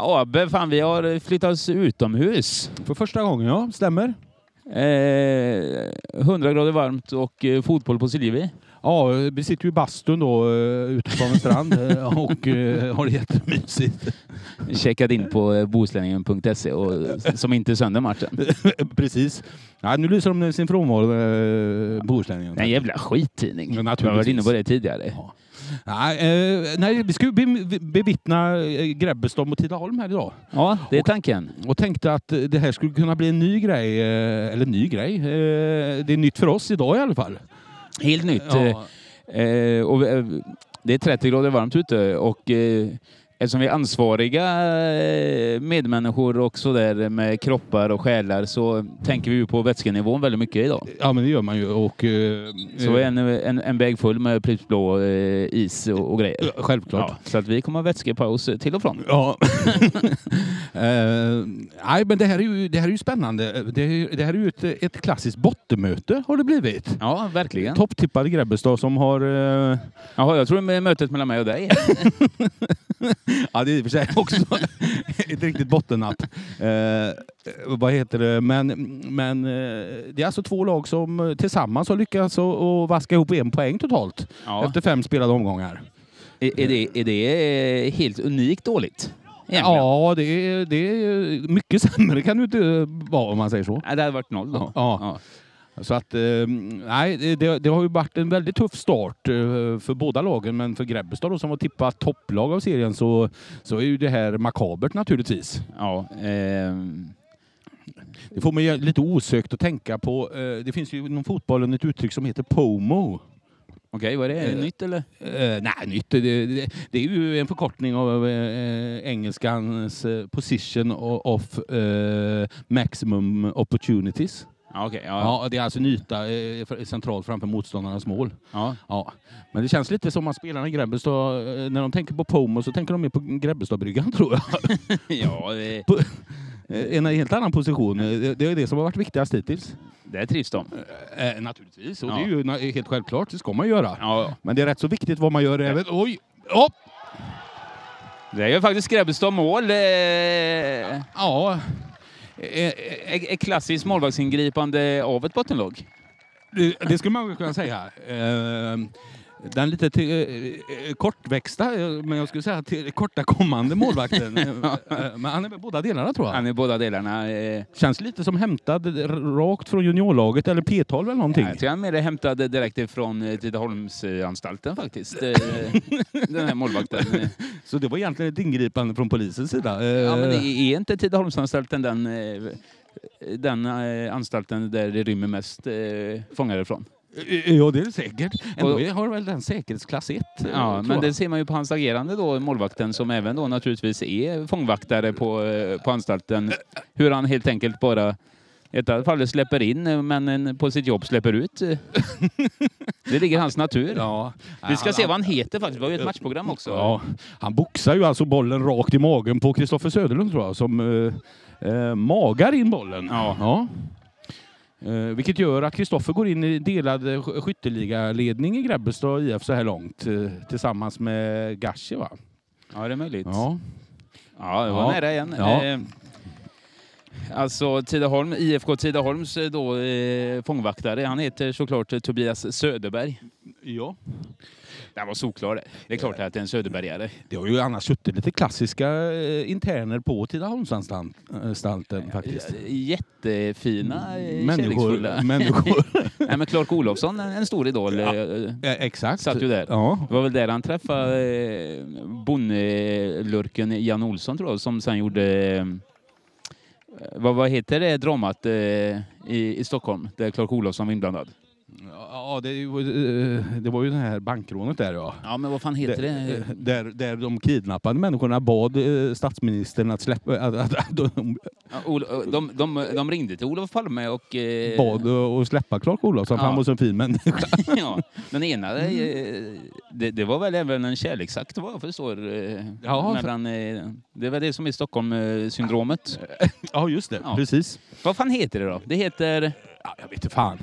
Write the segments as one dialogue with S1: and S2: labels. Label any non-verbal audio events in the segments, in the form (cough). S1: Abbe, fan vi har flyttat oss utomhus.
S2: För första gången, ja. Stämmer.
S1: Eh, 100 grader varmt och eh, fotboll på Siljevi.
S2: Ja, vi sitter ju i bastun då eh, ute på en strand eh, (laughs) och eh, har det jättemysigt.
S1: Checkat in på eh, bohuslänningen.se och, som inte sönder matchen.
S2: (laughs) (laughs) Precis. Ja, nu lyser de med sin frånvaro, eh, Bohuslänningen.
S1: En jävla skittidning.
S2: Ja,
S1: Jag
S2: naturligtvis.
S1: har varit inne på det tidigare.
S2: Ja. Nej, eh, nej, vi ska ju be- bevittna eh, Grebbestad mot Tidaholm här idag.
S1: Ja, det är tanken.
S2: Och tänkte att eh, det här skulle kunna bli en ny grej. eh, Eller ny grej. eh, Det är nytt för oss idag i alla fall.
S1: Helt nytt.
S2: Ja,
S1: Eh, och, eh, det är 30 grader varmt ute och eh, eftersom vi är ansvariga eh, medmänniskor och sådär med kroppar och själar så tänker vi ju på vätskenivån väldigt mycket idag.
S2: ja men det gör man ju. Och, eh,
S1: Så en, en, en bag full med Pripps blå eh, is och, och grejer.
S2: eh, Självklart.
S1: Ja, så att vi kommer ha vätskepaus till och från.
S2: Ja. (laughs) Eh, nej, men det här är ju, det här är ju spännande. Det, är- det här är ju ett, ett klassiskt bottenmöte har det blivit.
S1: Ja, verkligen.
S2: Topptippade Grebbestad som har... eh,
S1: Jaha, jag tror det är mötet mellan mig och dig.
S2: ja, det är i och för sig också (laughs) ett riktigt bottennapp. Eh, vad heter det? Men, men eh, det är alltså två lag som eh, tillsammans har lyckats att- att vaska ihop en poäng totalt
S1: (laughs) Ja.
S2: efter fem spelade omgångar.
S1: Är, är, det, är det eh, helt unikt dåligt? Egentligen?
S2: Ja, det är, det är mycket sämre kan det ju inte vara om man säger så.
S1: Nej, Det hade varit noll då.
S2: Ja. Så att, eh, nej, det- det, det har ju varit en väldigt tuff start eh, för båda lagen, men för Grebbestad då, som var tippat topplag av serien så, så är ju det här makabert naturligtvis.
S1: Ja, ehm,
S2: Det får mig ju lite osökt att tänka på, eh, det finns ju inom fotbollen ett uttryck som heter POMO.
S1: Okej, var det
S2: Eh,
S1: nytt eller?
S2: Eh, nej, nytt. Det, det, det är ju en förkortning av eh, engelskans eh, position o- of eh, maximum opportunities.
S1: Ja, okej. ja.
S2: Ja, det är alltså en yta eh, för- centralt framför motståndarnas mål.
S1: Ja. (laughs)
S2: Ja, men det känns lite som att spelarna i Grebbestad, eh, när de tänker på Pomo så tänker de mer på Grebbestadbryggan (laughs) tror jag.
S1: ja, det-
S2: Eh, En helt annan position. Eh, Det det är det som har varit viktigast hittills.
S1: där trivs de.
S2: Eh, naturligtvis, och
S1: Ja.
S2: det är ju na- helt självklart. Det ska man göra.
S1: Ja,
S2: Men det är rätt så viktigt vad man gör även... Oj! Oh!
S1: det är ju faktiskt Grebbestad mål. Eh,
S2: Ja,
S1: Ett ett klassiskt målvaktsingripande av ett bottenlag.
S2: det, det skulle man väl kunna säga. Eh, Den lite till, eh, kortväxta, eh, men jag skulle säga till korta kommande (laughs) målvakten. Eh, eh, men han är väl båda delarna tror jag.
S1: Han är båda delarna. Eh,
S2: Känns lite som hämtad r- rakt från juniorlaget eller P12 eller någonting.
S1: jag tror han mer är hämtad direkt ifrån eh, Tidaholmsanstalten faktiskt. (laughs) Eh, Den här målvakten. Eh,
S2: Så det var egentligen ett ingripande från polisens sida.
S1: Ja, men
S2: Eh,
S1: är inte Tidaholmsanstalten den, eh, den eh, anstalten där det rymmer mest eh, fångar ifrån?
S2: eh, ja, det är det säkert. Ändå
S1: Och-
S2: har väl den säkerhetsklass eh, 1.
S1: Ja, men det ser man ju på hans agerande då, målvakten, som även då naturligtvis är fångvaktare på, eh, på anstalten. Hur han helt enkelt bara, i detta fallet släpper in, eh, men en- på sitt jobb släpper (laughs) ut. Det ligger i hans natur.
S2: Ja.
S1: Vi ska se vad han heter faktiskt, vi har ju ett matchprogram också.
S2: Ja, han boxar ju alltså bollen rakt i magen på Kristoffer Söderlund tror jag, som eh, eh, magar in bollen.
S1: Ja.
S2: Eh, vilket gör att Kristoffer går in i delad eh, sk- skytteligaledning i Grebbestad IF så här långt eh, tillsammans med Gashi va?
S1: ja det är möjligt.
S2: Ja.
S1: Ja, det var
S2: Ja.
S1: nära igen.
S2: Ja.
S1: Eh, Alltså Tidaholm, IFK Tidaholms eh, då, eh, fångvaktare, han heter såklart eh, Tobias Söderberg.
S2: ja.
S1: Den var solklar det. Det är klart att det är en Söderbergare.
S2: Det har ju annars suttit lite klassiska eh, interner på Tidaholmsanstalten eh, faktiskt.
S1: Jättefina, eh, (laughs)
S2: Människor.
S1: kärleksfulla.
S2: (laughs) människor.
S1: Nej, men Clark Olofsson, en en stor idol,
S2: Ja.
S1: eh,
S2: Ja, exakt.
S1: satt ju där.
S2: Ja.
S1: Det var väl där han träffade eh, bondelurken Jan Olsson tror jag, som sen gjorde, eh, vad, vad heter det dramat eh, i, i Stockholm, där Clark Olofsson var inblandad?
S2: Ja, det, är ju- eh, det var ju det här bankrånet där ja.
S1: Ja, men vad fan heter det?
S2: Där- eh, Där, där de kidnappade människorna bad eh, statsministern att släppa... Att, att, att de
S1: Ja, Ol- eh, de, de, de ringde till Olof Palme och... eh,
S2: bad att släppa Clark Olofsson, för
S1: Ja.
S2: han var så fin människa.
S1: (laughs) ja, den ena, eh, det, det var väl även en kärleksakt vad jag förstår. eh,
S2: Ja, för-
S1: mellan, eh, det var det som är Stockholm-syndromet.
S2: (laughs) Ja, just det.
S1: Ja.
S2: Precis.
S1: Vad fan heter det då? Det heter...
S2: Ja, jag vet inte fan.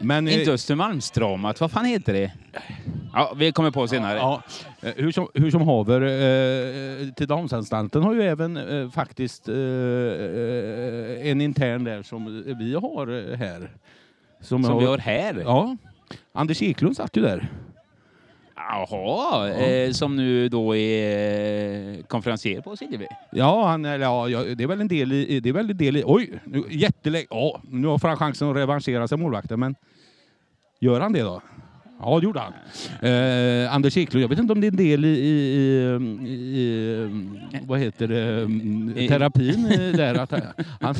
S2: Men, eh,
S1: Inte Östermalmsdramat, vad fan heter det? Ja, vi kommer på senare.
S2: Ja, eh, hur, som, hur som haver, eh, till Damsanstalten har ju även eh, faktiskt eh, eh, en intern där som vi har eh, här.
S1: Som vi har här?
S2: Ja. Anders Eklund satt ju där.
S1: Jaha, eh, som nu då är eh, konferencier på Siljevi.
S2: Ja, han, eller ja, ja, det är väl en del i... i- Det är väl en del i oj, nu, jättelänge. Ja, nu har han chansen att revanschera sig målvakten, men gör han det då? Ja, det gjorde han. Eh, Anders Eklund, jag vet inte om det är en del i, i, i, i vad heter det, mm,
S1: I-
S2: terapin eh, där. Att han,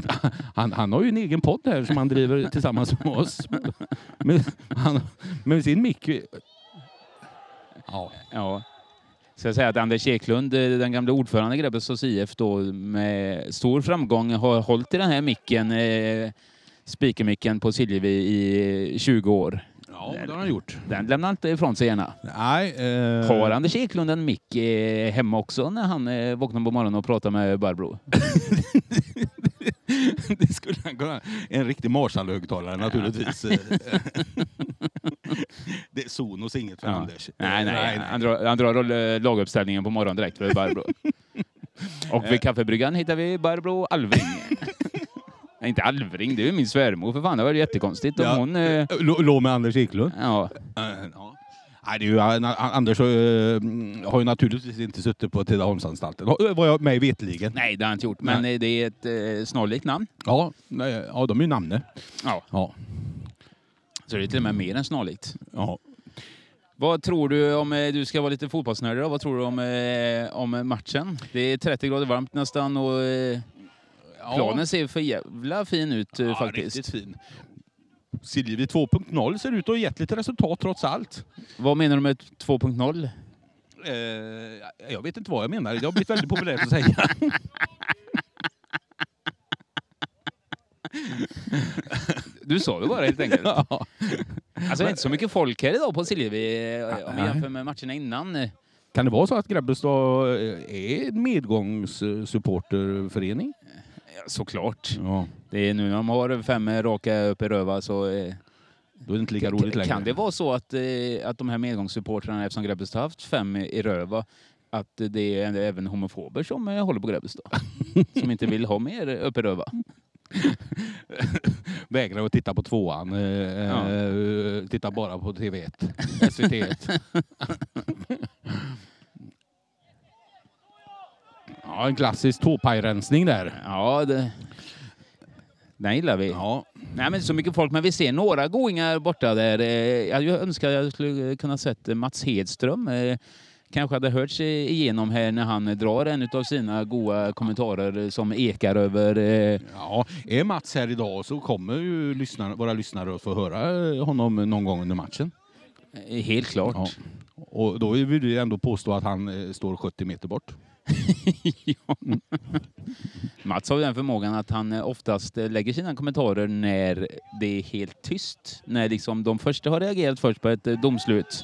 S2: han, han har ju en egen podd här som han driver tillsammans med oss. Med, han, med sin mick. Ja.
S1: Ja. Ska jag säga att Anders Eklund, eh, den gamla ordföranden i Grebbestads IF, då med stor framgång har hållit i den här micken, eh, speakermicken på Siljevi i eh, 20 år.
S2: ja, det har han gjort.
S1: Den lämnar han inte ifrån sig gärna.
S2: Nej, eh,
S1: Har Anders Eklund en mick eh, hemma också när han eh, vaknar på morgonen och pratar med Barbro?
S2: (laughs) Det skulle han kunna. En riktig Marshall-högtalare (laughs) naturligtvis. det är Sonos inget för
S1: Ja.
S2: Anders.
S1: Nej, nej, Han drar, han drar roll- laguppställningen på morgonen direkt för (laughs) Barbro. och vid kaffebryggan hittar vi Barbro Alvring. (laughs) nej, inte Alvring, det är ju min svärmor för fan. Det var ju jättekonstigt om
S2: Ja.
S1: hon... Eh,
S2: Lå- Låg med Anders Eklund.
S1: ja.
S2: Eh, ja. Nej, det är ju, han- han- Anders har ju, mm, har ju naturligtvis inte suttit på Tidaholmsanstalten, Har- vad jag mig vetligen.
S1: Nej, det har han inte gjort. Men eh, det är ett eh, snarlikt namn.
S2: Ja, nej, ja, de är ju namne.
S1: Ja.
S2: Ja,
S1: Så det är till och med mer än snarlikt.
S2: ja.
S1: Vad tror du om, eh, du ska vara lite fotbollsnördig då, vad tror du om, eh, om matchen? Det är 30 grader varmt nästan och eh, planen ser för jävla fin ut eh,
S2: ja,
S1: faktiskt.
S2: Riktigt fin. Siljevi 2.0 ser ut att ha gett lite resultat trots allt.
S1: Vad menar du med 2.0?
S2: Eh, jag vet inte vad jag menar. Jag har blivit väldigt populär att säga.
S1: Du sa det bara helt enkelt.
S2: (laughs) Ja.
S1: Alltså det är inte så mycket folk här idag på Siljevi eh, om vi
S2: Ah, Nej.
S1: jämför med matcherna innan. eh.
S2: Kan det vara så att Grebbestad är en medgångssupporterförening?
S1: Ja, såklart.
S2: Ja.
S1: Det är nu när de har fem eh, raka upp i röva så eh,
S2: Då är det inte lika roligt längre.
S1: Kan det vara så att, eh, att de här medgångssupportrarna, eftersom Grebbestad har haft fem i röva, att det är även homofober som eh, håller på
S2: (laughs)
S1: Grebbestad? som inte vill ha mer upp i röva?
S2: Vägrar att titta på tvåan. eh, eh, Titta bara på
S1: (laughs)
S2: TV1. SVT1. ja, en klassisk tåpajrensning där.
S1: Ja, det... Den gillar vi.
S2: Ja.
S1: Nej, men inte så mycket folk, men vi ser några goingar borta där. Eh, Jag hade ju önskat att jag skulle kunna sett eh, Mats Hedström. Eh, Kanske hade hörts eh, igenom här när han eh, drar en av sina goa kommentarer eh, som ekar över... eh,
S2: ja, är Mats här idag så kommer ju lyssnarna, våra lyssnare att få höra eh, honom någon gång under matchen.
S1: Helt klart.
S2: Ja. Och då vill vi ändå påstå att han eh, står 70 meter bort.
S1: Ja. Mats har ju den förmågan att han eh, oftast eh, lägger sina kommentarer när det är helt tyst. När liksom de första har reagerat först på ett eh, domslut.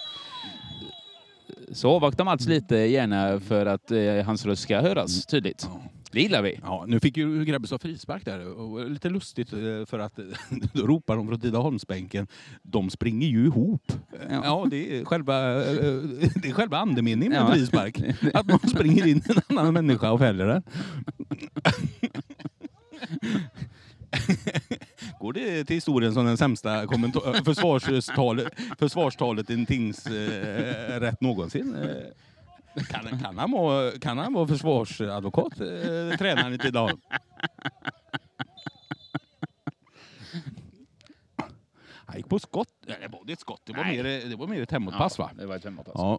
S1: Så avvaktar Mats lite gärna för att eh, hans röst ska höras tydligt. Det gillar vi.
S2: Ja, nu fick ju Grebbestad frispark där. Och lite lustigt eh, för att (laughs) då ropar de från Tidaholmsbänken. De springer ju ihop. Ja, det, är själva, eh, det är själva andemeningen med
S1: Ja.
S2: (laughs) frispark. Att man springer in i en annan människa och fäller den. (laughs) Går det till historien som den sämsta kommenta- försvarstalet, försvarstalet i en tingsrätt någonsin? Eh, Kan, kan, han vara, kan han vara försvarsadvokat, eh, tränaren i Tidaholm? Han gick på skott. Eller var det ett skott? Det var,
S1: Nej.
S2: mer, det var mer ett hemåtpass va?
S1: Det var ett femmapass.
S2: Ja.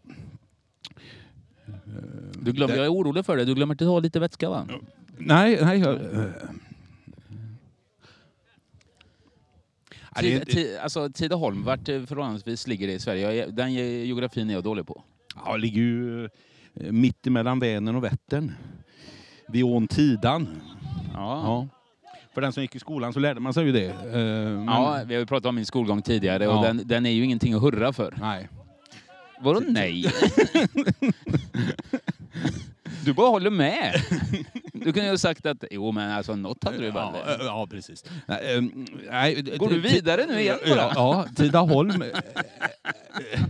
S1: Du glömmer, jag är orolig för dig. Du glömmer inte ta lite vätska va?
S2: Nej, nej. Jag, eh. Ja, det är
S1: Tid,
S2: inte-
S1: ti, alltså Tidaholm, vart eh, förhållandevis ligger det i Sverige? Jag är- Den ge- geografin är jag dålig på.
S2: ja, det ligger ju eh, mitt emellan Vänern och Vättern. Vid ån Tidan.
S1: Ja.
S2: Ja. För den som gick i skolan så lärde man sig ju det. eh, Men,
S1: Ja, vi har ju pratat om min skolgång tidigare och
S2: Ja.
S1: den, den är ju ingenting att hurra för.
S2: Nej.
S1: Vadå (laughs) nej? du bara håller med. Du kunde ju ha sagt att jo men alltså något hade du
S2: Ja,
S1: väl.
S2: eh, ja, precis. Nej, eh, nej,
S1: Går
S2: ti-
S1: du vidare nu igen
S2: Ja,
S1: bara?
S2: ja Tidaholm. eh, eh,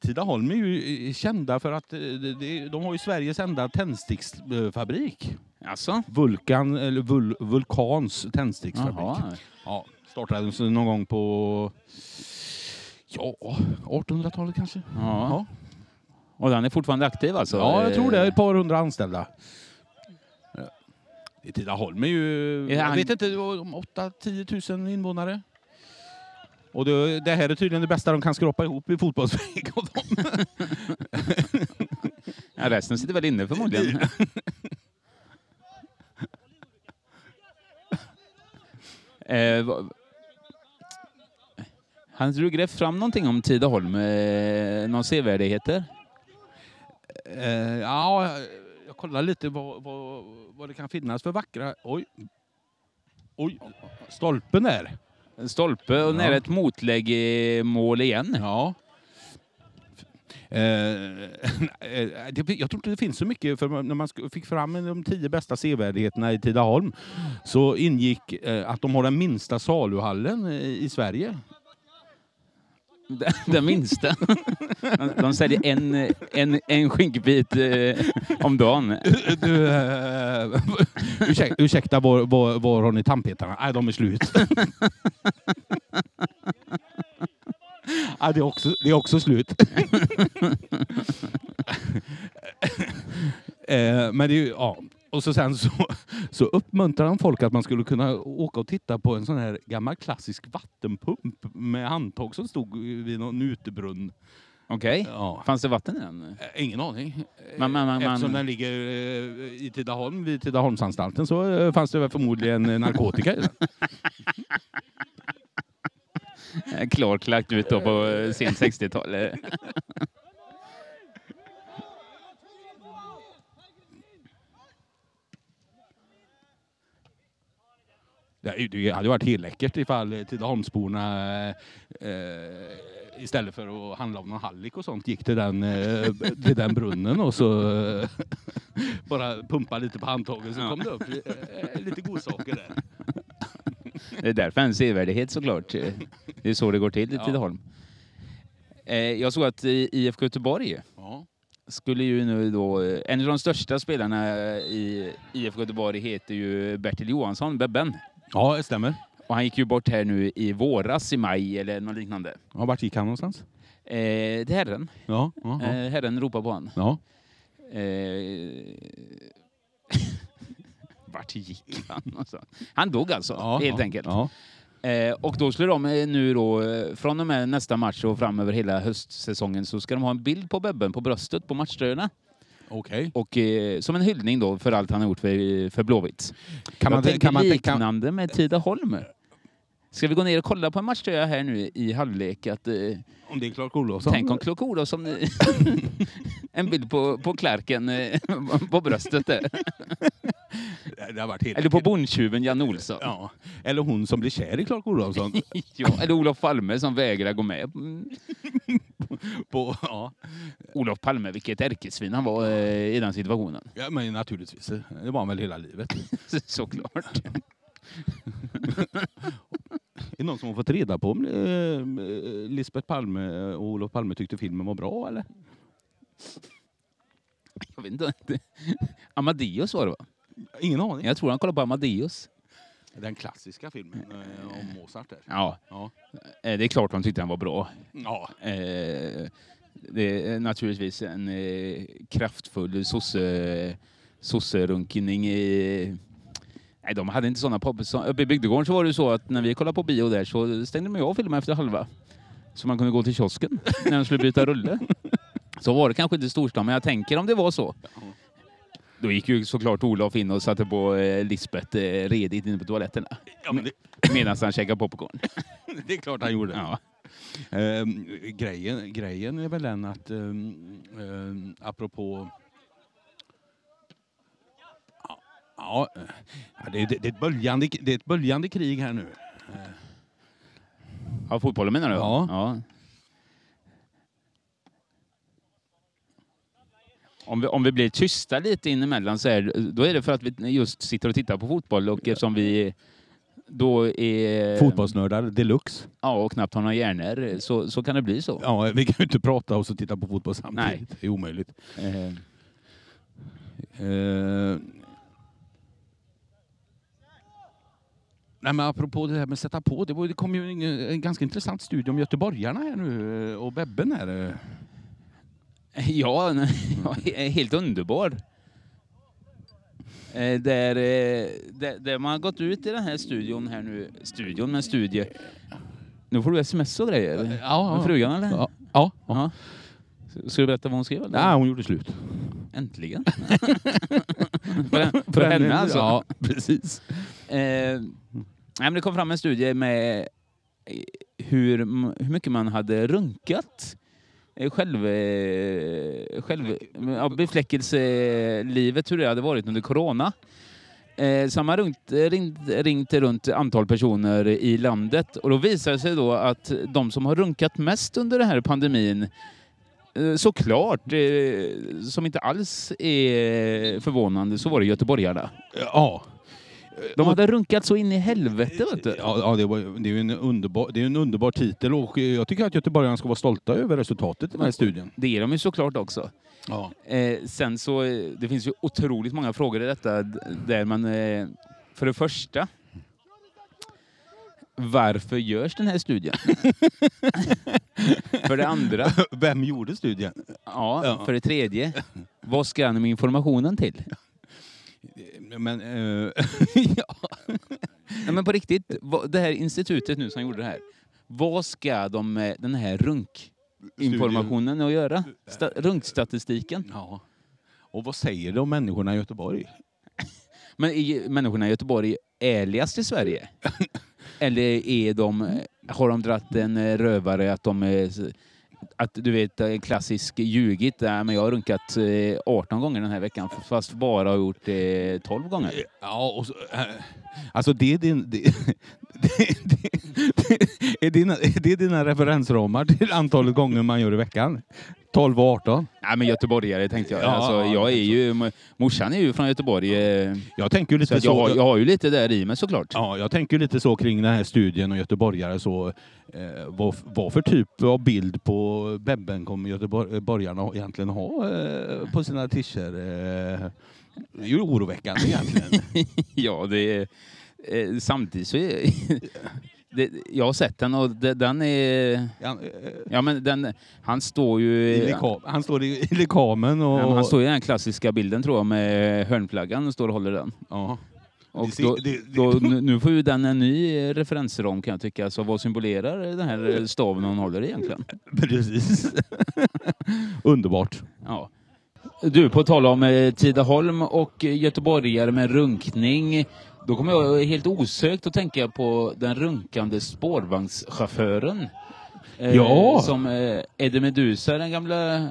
S2: Tidaholm är ju eh, kända för att eh, det- det- de har ju Sveriges enda tändsticksfabrik.
S1: Alltså?
S2: Vulkan, eller vul, Vulkans tändsticksfabrik.
S1: Jaha.
S2: Ja, startades någon gång på ja, 1800-talet kanske.
S1: Ja. Och den är fortfarande aktiv alltså?
S2: ja, jag tror det.
S1: Eh,
S2: Ett par hundra anställda. Ja. I Tidaholm är ju,
S1: Är
S2: jag
S1: han-
S2: vet inte, om 8-10 000 invånare. Och det, det här är tydligen det bästa de kan skrapa ihop i fotbollsväg. (laughs) av dem.
S1: Ja, resten sitter väl inne förmodligen. (laughs) eh, vad- han drog det fram någonting om Tidaholm, eh, någon sevärdheter.
S2: Eh, ja, jag kollar lite vad, vad, vad det kan finnas för vackra... Oj! Oj! Stolpen där.
S1: En stolpe och
S2: Ja.
S1: nära ett motlägg i mål igen.
S2: Ja. Eh, (laughs) eh, det, jag tror inte det finns så mycket. För när man sk- fick fram de tio bästa sevärdheterna i Tidaholm så ingick eh, att de har den minsta saluhallen eh, i Sverige.
S1: Den- Den minsta. (laughs) De, de säljer en, eh, en, en skinkbit eh, om dagen.
S2: Du, eh, (laughs) ursäk, ursäkta, var, var, var har ni tandpetarna? Nej, de är slut. Nej, det, är också, det är också slut. (laughs) Eh, Men det är ju, ja. Och så sen så, så uppmuntrar han folk att man skulle kunna åka och titta på en sån här gammal klassisk vattenpump med handtag som stod vid någon utebrunn.
S1: Okej.
S2: Ja.
S1: Fanns det vatten i den?
S2: Eh, Ingen aning.
S1: Man- man- man-
S2: Eftersom
S1: man-
S2: den ligger eh, i Tidaholm, vid Tidaholmsanstalten så eh, fanns det väl förmodligen eh, narkotika i den.
S1: (laughs) Eh, Klarklackt ut då på eh, sent 60-tal. eh.
S2: Det är ju- Det hade ju varit helt läckert ifall eh, Tidaholmsborna eh, eh, istället för att handla om någon hallik och sånt gick till den, eh, till den brunnen och så eh, (laughs) bara pumpa lite på handtagen så
S1: Ja.
S2: kom det upp eh, lite godsaker där.
S1: Det är därför en sevärdhet såklart. Eh, Det är så det går till i
S2: Ja.
S1: Tidaholm. Eh, Jag såg att i IFK Göteborg
S2: Ja. skulle
S1: skulle ju nu då... eh, En av de största spelarna i IFK Göteborg heter ju Bertil Johansson, Bebben.
S2: Ja, det stämmer.
S1: Och han gick ju bort här nu i våras, i maj eller något liknande.
S2: Ja, vart gick han någonstans?
S1: Eh, det är herren.
S2: Ja, ja, ja.
S1: Eh, herren ropar på han.
S2: ja.
S1: Eh, (laughs) vart gick han? någonstans? Han dog alltså,
S2: ja
S1: helt
S2: ja,
S1: enkelt.
S2: Ja.
S1: Eh, och då skulle de eh, nu då, eh, från och med nästa match och framöver hela höstsäsongen så ska de ha en bild på Bebben på bröstet på matchtröjorna.
S2: Okej.
S1: Och eh, som en hyllning då för allt han har gjort för, för Blåvitt.
S2: Kan
S1: Jag tänker liknande med Tidaholm. Ska vi gå ner och kolla på en matchtröja här nu i halvlek? Att, eh,
S2: Om det är Clark Olofsson.
S1: Tänk om Klock Olofsson... eh, (laughs) en bild på, på Klarken eh, (laughs) på bröstet där.
S2: Det har varit helt (laughs)
S1: Eller på bondtjuven Jan Olsson.
S2: Ja. Eller hon som blir kär i
S1: (laughs)
S2: Clark Olofsson.
S1: Ja, eller Olof Palme som vägrar gå med. Mm.
S2: på, ja.
S1: Olof Palme, vilket ärkesvin han var eh, i den situationen. (laughs)
S2: ja, men naturligtvis. Det var han väl hela livet.
S1: Såklart.
S2: Är det någon som har fått reda på om eh, Lisbeth Palme eh, och Olof Palme tyckte filmen var bra eller?
S1: Jag vet inte. Amadeus var det va?
S2: Ingen aning.
S1: Jag tror han kollade på Amadeus.
S2: Den klassiska filmen eh, om Mozart. Där.
S1: Ja,
S2: Ja.
S1: eh, det är klart de tyckte han var bra.
S2: ja.
S1: Eh, Det är naturligtvis en eh, kraftfull sosse, sosserunkning i... Nej, de hade inte sådana poppis. som- Uppe i bygdegården så var det ju så att när vi kollade på bio där så stängde de ju av filmen efter halva. Så man kunde gå till kiosken när de skulle byta rulle. Så var det kanske inte i storstan, men jag tänker om det var så. Då gick ju såklart Olof in och satte på eh, Lisbeth eh, redigt inne på toaletterna
S2: ja men det,
S1: medan han käkade popcorn.
S2: det är klart han gjorde.
S1: Ja.
S2: Ehm, grejen, grejen är väl den att um, apropå... Ja, Ja, eh, ja, det, det, det, är ett böljande, det är ett böljande krig här nu.
S1: Ja, fotbollen menar du?
S2: Ja.
S1: Om, vi, om vi blir tysta lite inemellan så är, då är det för att vi just sitter och tittar på fotboll och eftersom vi då
S2: Ehm,
S1: är...
S2: Fotbollsnördar deluxe.
S1: Ja, och knappt har några hjärnor, så, så kan det bli så.
S2: Ja, vi kan ju inte prata och så titta på fotboll samtidigt.
S1: Nej.
S2: Det är omöjligt.
S1: Eh,
S2: Eh, Nej, men apropå det här med att sätta på. Det, var, det kom ju en, en ganska intressant studie om göteborgarna här nu eh, och Bebben här. eh.
S1: Ja, (laughs) n- ja, he- helt underbar. Eh, Där, eh, där, där man har gått ut i den här studion här nu. Studion, men studie. Nu får du sms och grejer.
S2: Ja,
S1: Med frugan eller?
S2: Ja. ja.
S1: Ja. S- Ska du berätta vad hon skrev? Eller?
S2: Nej, hon gjorde slut.
S1: Äntligen. för, för henne alltså.
S2: Ja, precis.
S1: Eh, nej, men det kom fram en studie med eh, hur, m- hur mycket man hade runkat eh, själv, eh, själv, ja, befläckelselivet, hur det hade varit under corona. Eh, så man ringt, ringt, ringt runt antal personer i landet och då visar det sig då att de som har runkat mest under den här pandemin eh, Såklart, eh, som inte alls är förvånande, så var det göteborgarna.
S2: Ja.
S1: De hade runkat så in i helvete, vet du.
S2: Ja, ja det, var, ju- det är ju en underbar, det är ju en underbar titel och jag tycker att göteborgarna ska vara stolta över resultatet i den här studien.
S1: Det är de ju såklart också.
S2: Ja.
S1: Eh, sen så, eh, det finns ju otroligt många frågor i detta d- där man, eh, för det första, varför görs den här studien? (laughs) för det andra,
S2: (laughs) Vem gjorde studien?
S1: ja,
S2: (laughs) Ja.
S1: för det tredje, vad ska han med informationen till?
S2: (laughs) Men, eh, (laughs)
S1: Nej, men på riktigt, vad- det här institutet nu som gjorde det här, vad ska de med den här runkinformationen att göra? Sta- runkstatistiken?
S2: ja. Och vad säger de om människorna i Göteborg?
S1: Men är människorna i Göteborg ärligast i
S2: (laughs)
S1: Sverige? Eller är de, har de dratt en eh, rövare att de är, s- att du vet eh, klassisk ljugit, nej men jag har runkat eh, 18 gånger den här veckan fast bara har gjort eh, 12 gånger.
S2: Ja, och så, eh, alltså det är din... Det, (laughs) det, det, det, är dina, är det dina referensramar till antalet gånger man gör i veckan? 12 och 18?
S1: Nej men göteborgare tänkte jag.
S2: Ja,
S1: alltså,
S2: ja,
S1: jag är ju, m- morsan är ju från Göteborg eh,
S2: Jag tänker ju
S1: så
S2: lite
S1: att
S2: så...
S1: jag, har, jag har ju lite där i mig såklart.
S2: Ja, jag tänker ju lite så kring den här studien och göteborgare. Så, eh, vad, vad för typ av bild på Bebben kommer göteborgarna egentligen ha eh, på sina t-shirts? Eh, det är ju oroväckande egentligen.
S1: (laughs) Ja, det är, eh, samtidigt så är, (laughs) det, jag har sett den och det, den är
S2: Han, eh,
S1: Ja, men den, han står ju...
S2: i lekam- han står i, i lekamen och...
S1: Ja, men han står i den här klassiska bilden tror jag med hörnflaggan och står och håller den.
S2: Ja.
S1: Och
S2: Det ser-
S1: då,
S2: det- det-
S1: då, nu nu får ju den en ny eh, referensram kan jag tycka. Så vad symbolerar den här eh, staven hon håller egentligen?
S2: (laughs) Precis. Underbart.
S1: Ja. Du, på tal om eh, Tidaholm och eh, göteborgare med runkning. Då kommer jag helt osökt att tänka på den runkande spårvagnschauffören. Eh,
S2: Ja.
S1: Som eh, Eddie Meduza, den gamla... eh,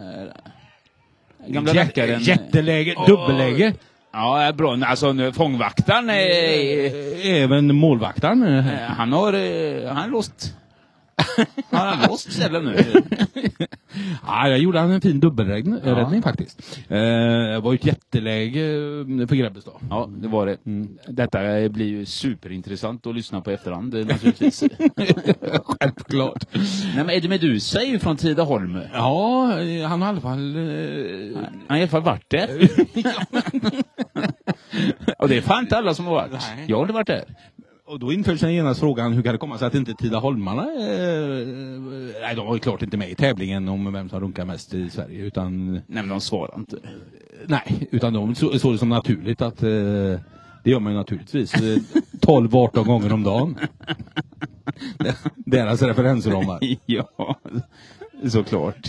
S1: Gamla
S2: Jä-
S1: rackaren.
S2: Jätteläge, dubbelläge.
S1: Ja, eh, bra. Alltså nu, fångvaktaren, eh,
S2: Även målvaktaren. eh,
S1: eh, han har, eh, han är (laughs) låst. Har han låst ställen nu?
S2: Ja, jag gjorde han en fin dubbelräddning
S1: Ja.
S2: räddning faktiskt. Eh, det var ju ett jätteläge eh, för Grebbestad.
S1: Ja, det var det. Mm. Detta blir ju superintressant att lyssna på i efterhand eh, naturligtvis.
S2: (laughs) Självklart.
S1: (laughs) Nej men Eddie Meduza är ju från Tidaholm.
S2: Ja, eh, han har i alla fall... Eh,
S1: Han har i alla fall varit (laughs) där. Och det är fan inte alla som har varit.
S2: Nej.
S1: Jag har inte varit där.
S2: och då inföll sig genast frågan hur kan det komma sig att inte Tidaholmarna... Eh, nej, de var ju klart inte med i tävlingen om vem som runkar mest i Sverige. Utan, eh,
S1: Nej men de svarar inte.
S2: nej, utan de så- såg det som naturligt att... Eh, det gör man ju naturligtvis. (laughs) Eh, 12-18 gånger om dagen. (laughs) Deras referensramar.
S1: (laughs) Ja, såklart.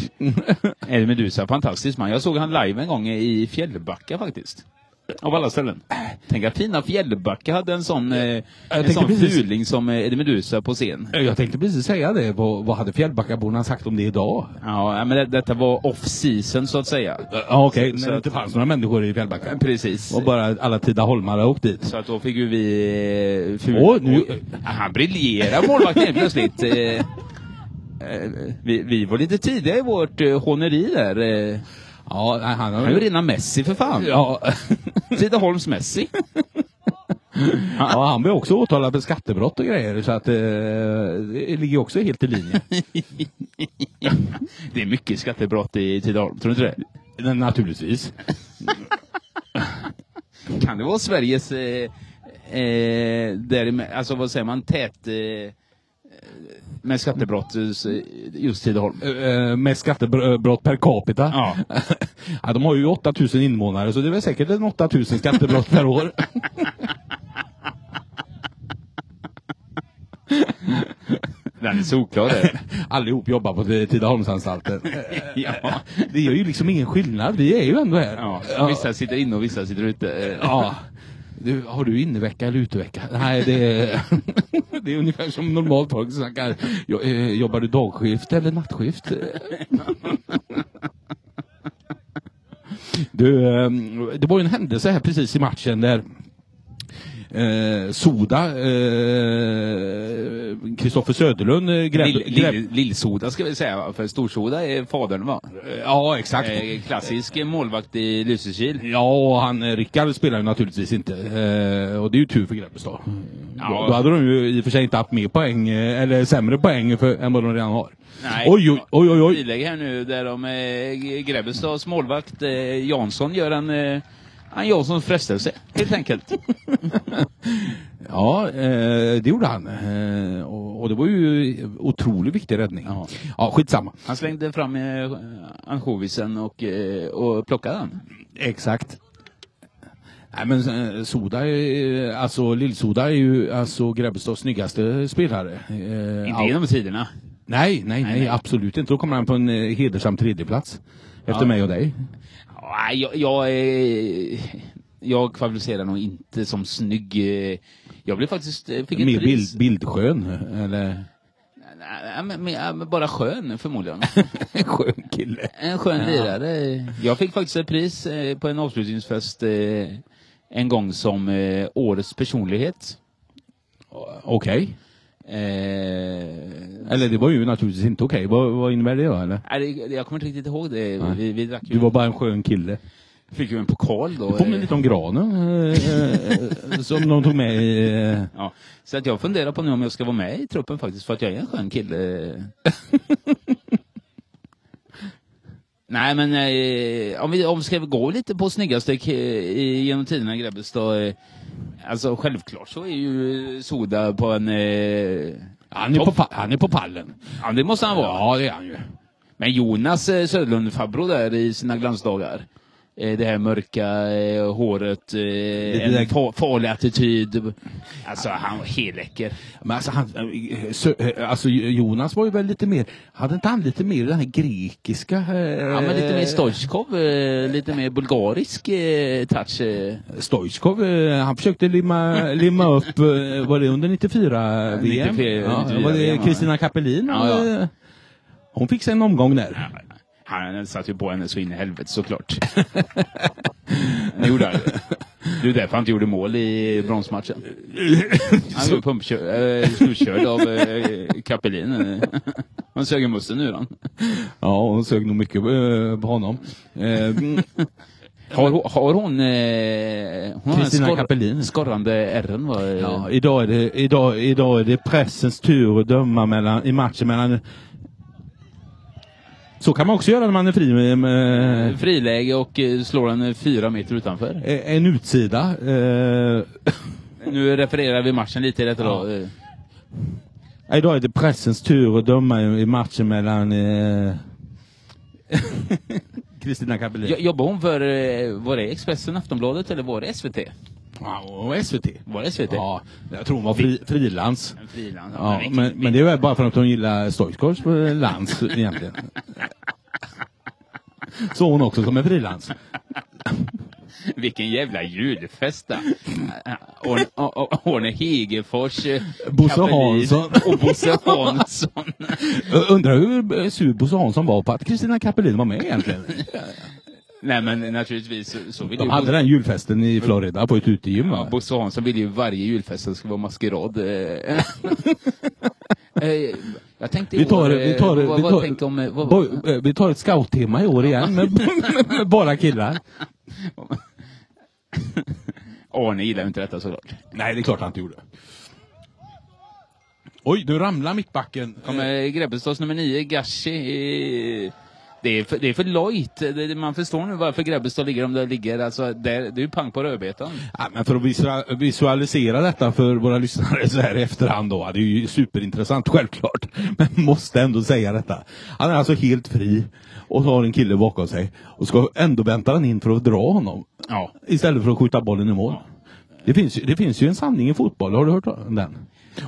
S1: Eddie Meduza, är fantastisk man. Jag såg han live en gång i Fjällbacka faktiskt. Av alla ställen. Tänk att fina Fjällbacka hade en sån, eh, en
S2: tänkte
S1: sån
S2: precis-
S1: fuling som eh, Eddie Meduza på scen.
S2: Jag tänkte precis säga det. Vad, vad hade Fjällbackaborna sagt om det idag?
S1: Ja, men det, detta var off season så att säga.
S2: Ja, okej.
S1: Så
S2: När det
S1: att-
S2: inte fanns några människor i Fjällbacka.
S1: Precis.
S2: Och bara alla Tidaholmare åkt dit.
S1: Så att då fick ju vi... eh, Ful...
S2: Åh, nu-
S1: Oj, Han briljerar målvakten helt plötsligt. Eh, eh, Vi, vi var lite tidiga i vårt eh, håneri där. eh.
S2: Ja, nej,
S1: Han
S2: han
S1: är
S2: har
S1: ju rena Messi för fan.
S2: Ja,
S1: (laughs) Tidaholms Messi.
S2: (laughs) Ja, han blir också åtalad för skattebrott och grejer så att eh, det ligger också helt
S1: (laughs)
S2: i linje.
S1: Det är mycket skattebrott i Tidaholm, tror du inte
S2: Men Naturligtvis.
S1: det? Kan det vara Sveriges, eh, eh, där, alltså vad säger man, tät... Eh, med skattebrott eh, just Tidaholm?
S2: Eh, Med skattebrott per capita.
S1: Ja.
S2: (laughs) Ja, de har ju 8000 invånare så det är väl säkert en 8000 skattebrott
S1: (laughs)
S2: per år.
S1: Den är solklar det.
S2: (laughs) Allihop jobbar
S1: (laughs)
S2: på Tidaholmsanstalten.
S1: ja.
S2: Det gör ju liksom ingen skillnad, vi är ju ändå här.
S1: (laughs) ja. Vissa sitter inne och vissa sitter ute. Eh, Ja.
S2: Ja. Du, har du innevecka eller utevecka? Nej, det är, (laughs) det är ungefär som normalt folk snackar. Jo- eh, Jobbar du dagskift eller nattskift? (laughs) Du, eh, det var ju en händelse här precis i matchen där eh, Soda, Kristoffer Söderlund eh, grävde...
S1: Lill-
S2: gräv,
S1: Lill- Lillsoda ska vi säga, för Storsoda är fadern va?
S2: ja, exakt.
S1: Eh, Klassisk målvakt i Lysekil.
S2: Ja, och han eh, Rickard spelar ju naturligtvis inte. Eh, och det är ju tur för Grebbestad.
S1: Ja.
S2: Då, då hade de ju i och för sig inte haft mer poäng, eh, eller sämre poäng för, än vad de redan har.
S1: Nej.
S2: Oj, oj, oj, oj, oj.
S1: Bilägg här nu där de, eh, Grebbestads målvakt eh, Jansson gör en, eh, en Janssons frestelse helt enkelt.
S2: Ja, eh, det gjorde han. Eh, och, och det var ju otroligt viktig räddning.
S1: Ja.
S2: ja skitsamma.
S1: Han slängde fram eh, ansjovisen och, eh, och plockade den.
S2: Exakt. Nej men eh, Soda, är, alltså Lill-Soda är ju alltså Grebbestads snyggaste spelare. Eh,
S1: Inte genom tiderna.
S2: Nej, nej, nej,
S1: nej.
S2: absolut inte. Då kommer han på en eh, hedersam tredjeplats. Efter
S1: Ja.
S2: mig och dig.
S1: Ja, jag, jag, eh, jag kvalificerar nog inte som snygg. eh, Jag blev faktiskt... eh, Fick ett
S2: Mer
S1: pris.
S2: bild, bildskön, eller?
S1: Nej, men, men, ja, men bara skön förmodligen.
S2: (laughs) skön kille.
S1: En skön lirare. Jag fick faktiskt ett pris eh, på en avslutningsfest eh, en gång som eh, årets personlighet.
S2: Okej.
S1: Eh, nej,
S2: Eller det var ju naturligtvis inte okej. Vad, vad innebär det då, eller?
S1: det- jag kommer inte riktigt ihåg det.
S2: Nej.
S1: Vi, vi drack ju,
S2: Du var bara en skön kille.
S1: fick ju en pokal då.
S2: Det påminner
S1: eh,
S2: lite om granen, eh, eh, som de tog med i... eh,
S1: Ja. Så att jag funderar på nu om jag ska vara med i truppen faktiskt, för att jag är en skön kille. Nej men eh, om vi om ska vi gå lite på snyggaste k- i- genom tiderna Grebbestad. Eh, alltså självklart så är ju Soda på en... Eh,
S2: Han, är på, pa- han är på pallen.
S1: ja det måste han vara.
S2: Ja, det är han ju.
S1: Men Jonas eh, Söderlund Fabro där i sina glansdagar. Eh, det här mörka eh, håret, eh, en
S2: där-
S1: fa- farlig attityd. Alltså han var helt läcker.
S2: Men alltså, han, eh, sö, eh, alltså Jonas var ju väl lite mer, hade inte han lite mer den här grekiska... eh,
S1: Ja, men lite mer Stoichkov, eh, lite mer bulgarisk eh, touch. eh.
S2: Stoichkov, eh, han försökte limma, limma upp, eh, var det under 94 VM?
S1: 94,
S2: ja,
S1: 94
S2: var
S1: VM,
S2: det
S1: ja.
S2: Kristina Kapelin?
S1: Ja, ja.
S2: eh, Hon fick sig en omgång där.
S1: Han satt ju på henne så in i helvete såklart. (laughs) det gjorde han. Det är därför han inte gjorde mål i bronsmatchen. Han blev pumpkörd, eh, slutkörd av eh, Kapelin. eh. Han sög i musten ur han.
S2: Ja, hon sög nog mycket eh, på honom. Eh,
S1: Har, hon- har hon... Eh, hon har en
S2: Kristina Kapelin.
S1: Skorrande ärren va? eh.
S2: Ja, idag, är det, idag, idag är det pressens tur att döma mellan, i matchen mellan... Så kan man också göra när man är fri med, med
S1: Friläge och eh, slår den eh, fyra meter utanför.
S2: en utsida. Eh,
S1: Nu refererar vi matchen lite i detta
S2: Ja.
S1: då. eh.
S2: idag är det pressens tur att döma i, i matchen mellan... eh, (laughs) Kristina Kapelin.
S1: Jo- Jobbar hon för, eh, var det Expressen, Aftonbladet eller var det SVT?
S2: Ja, och SVT.
S1: Var det SVT?
S2: Ja, jag tror hon var fri, frilans.
S1: En frilans.
S2: Ja, men, men det är väl bara för att hon gillar Stoichkovs eh, lans egentligen. (laughs) Så hon också som en frilans.
S1: Vilken jävla julfest (laughs) då. Or- or- or- Orne Hegefors, eh,
S2: Bosse
S1: Kapelin
S2: Hansson.
S1: (laughs) och Bosse Hansson.
S2: Ö- Undrar hur eh, sur Bosse Hansson var på att Kristina Kapelin var med (laughs) egentligen.
S1: Nej men naturligtvis så- så vill
S2: De
S1: ju
S2: hade den julfesten i Florida på ett utegym
S1: Ja,
S2: va?
S1: Bosse Hansson vill ju varje julfest att det ska vara maskerad. eh. (laughs) Eh, Jag tänkte i
S2: Vi tar,
S1: år,
S2: vi
S1: eh,
S2: tar,
S1: vad,
S2: vi
S1: vad tänkte om, eh,
S2: tar,
S1: vad,
S2: boy, eh, vi tar ett scouttema i år igen (laughs) med, med bara killar.
S1: Arne gillar ju inte detta såklart.
S2: Nej, det är klart han inte gjorde. Oj, nu ramlar mittbacken.
S1: Kommer Grebbestads nummer nio, Gashi. eh, Det är för, det är för lojt. Det- det- Man förstår nu varför Grebbestad ligger om det ligger. Alltså, där, det är ju pang på rödbetan.
S2: Ja, men för att visua- visualisera detta för våra lyssnare så här i efterhand då. Det är ju superintressant (laughs) självklart. Men måste ändå säga detta. Han är alltså helt fri och har en kille bakom sig. Och ska ändå väntar han in för att dra honom.
S1: Ja.
S2: Istället för att skjuta bollen i mål. Det finns, ju- det finns ju en sanning i fotboll. Har du hört om den?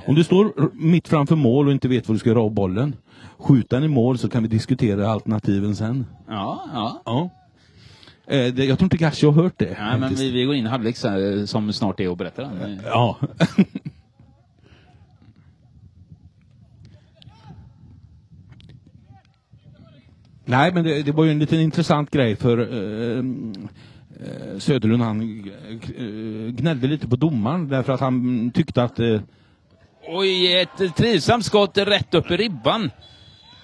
S2: Om du står r- mitt framför mål och inte vet vad du ska göra av bollen. Skjut den i mål så kan vi diskutera alternativen sen.
S1: Ja, ja.
S2: Ja. Eh, det, jag tror inte Gashi har hört det.
S1: Nej, men
S2: faktiskt.
S1: vi, vi går in i halvlek så här, som snart är och berättar om.
S2: Ja. (laughs) Nej, men det, det var ju en liten intressant grej för eh, eh, Söderlund han eh, gnällde lite på domaren därför att han tyckte att eh,
S1: Oj, ett trivsamt skott rätt upp i ribban.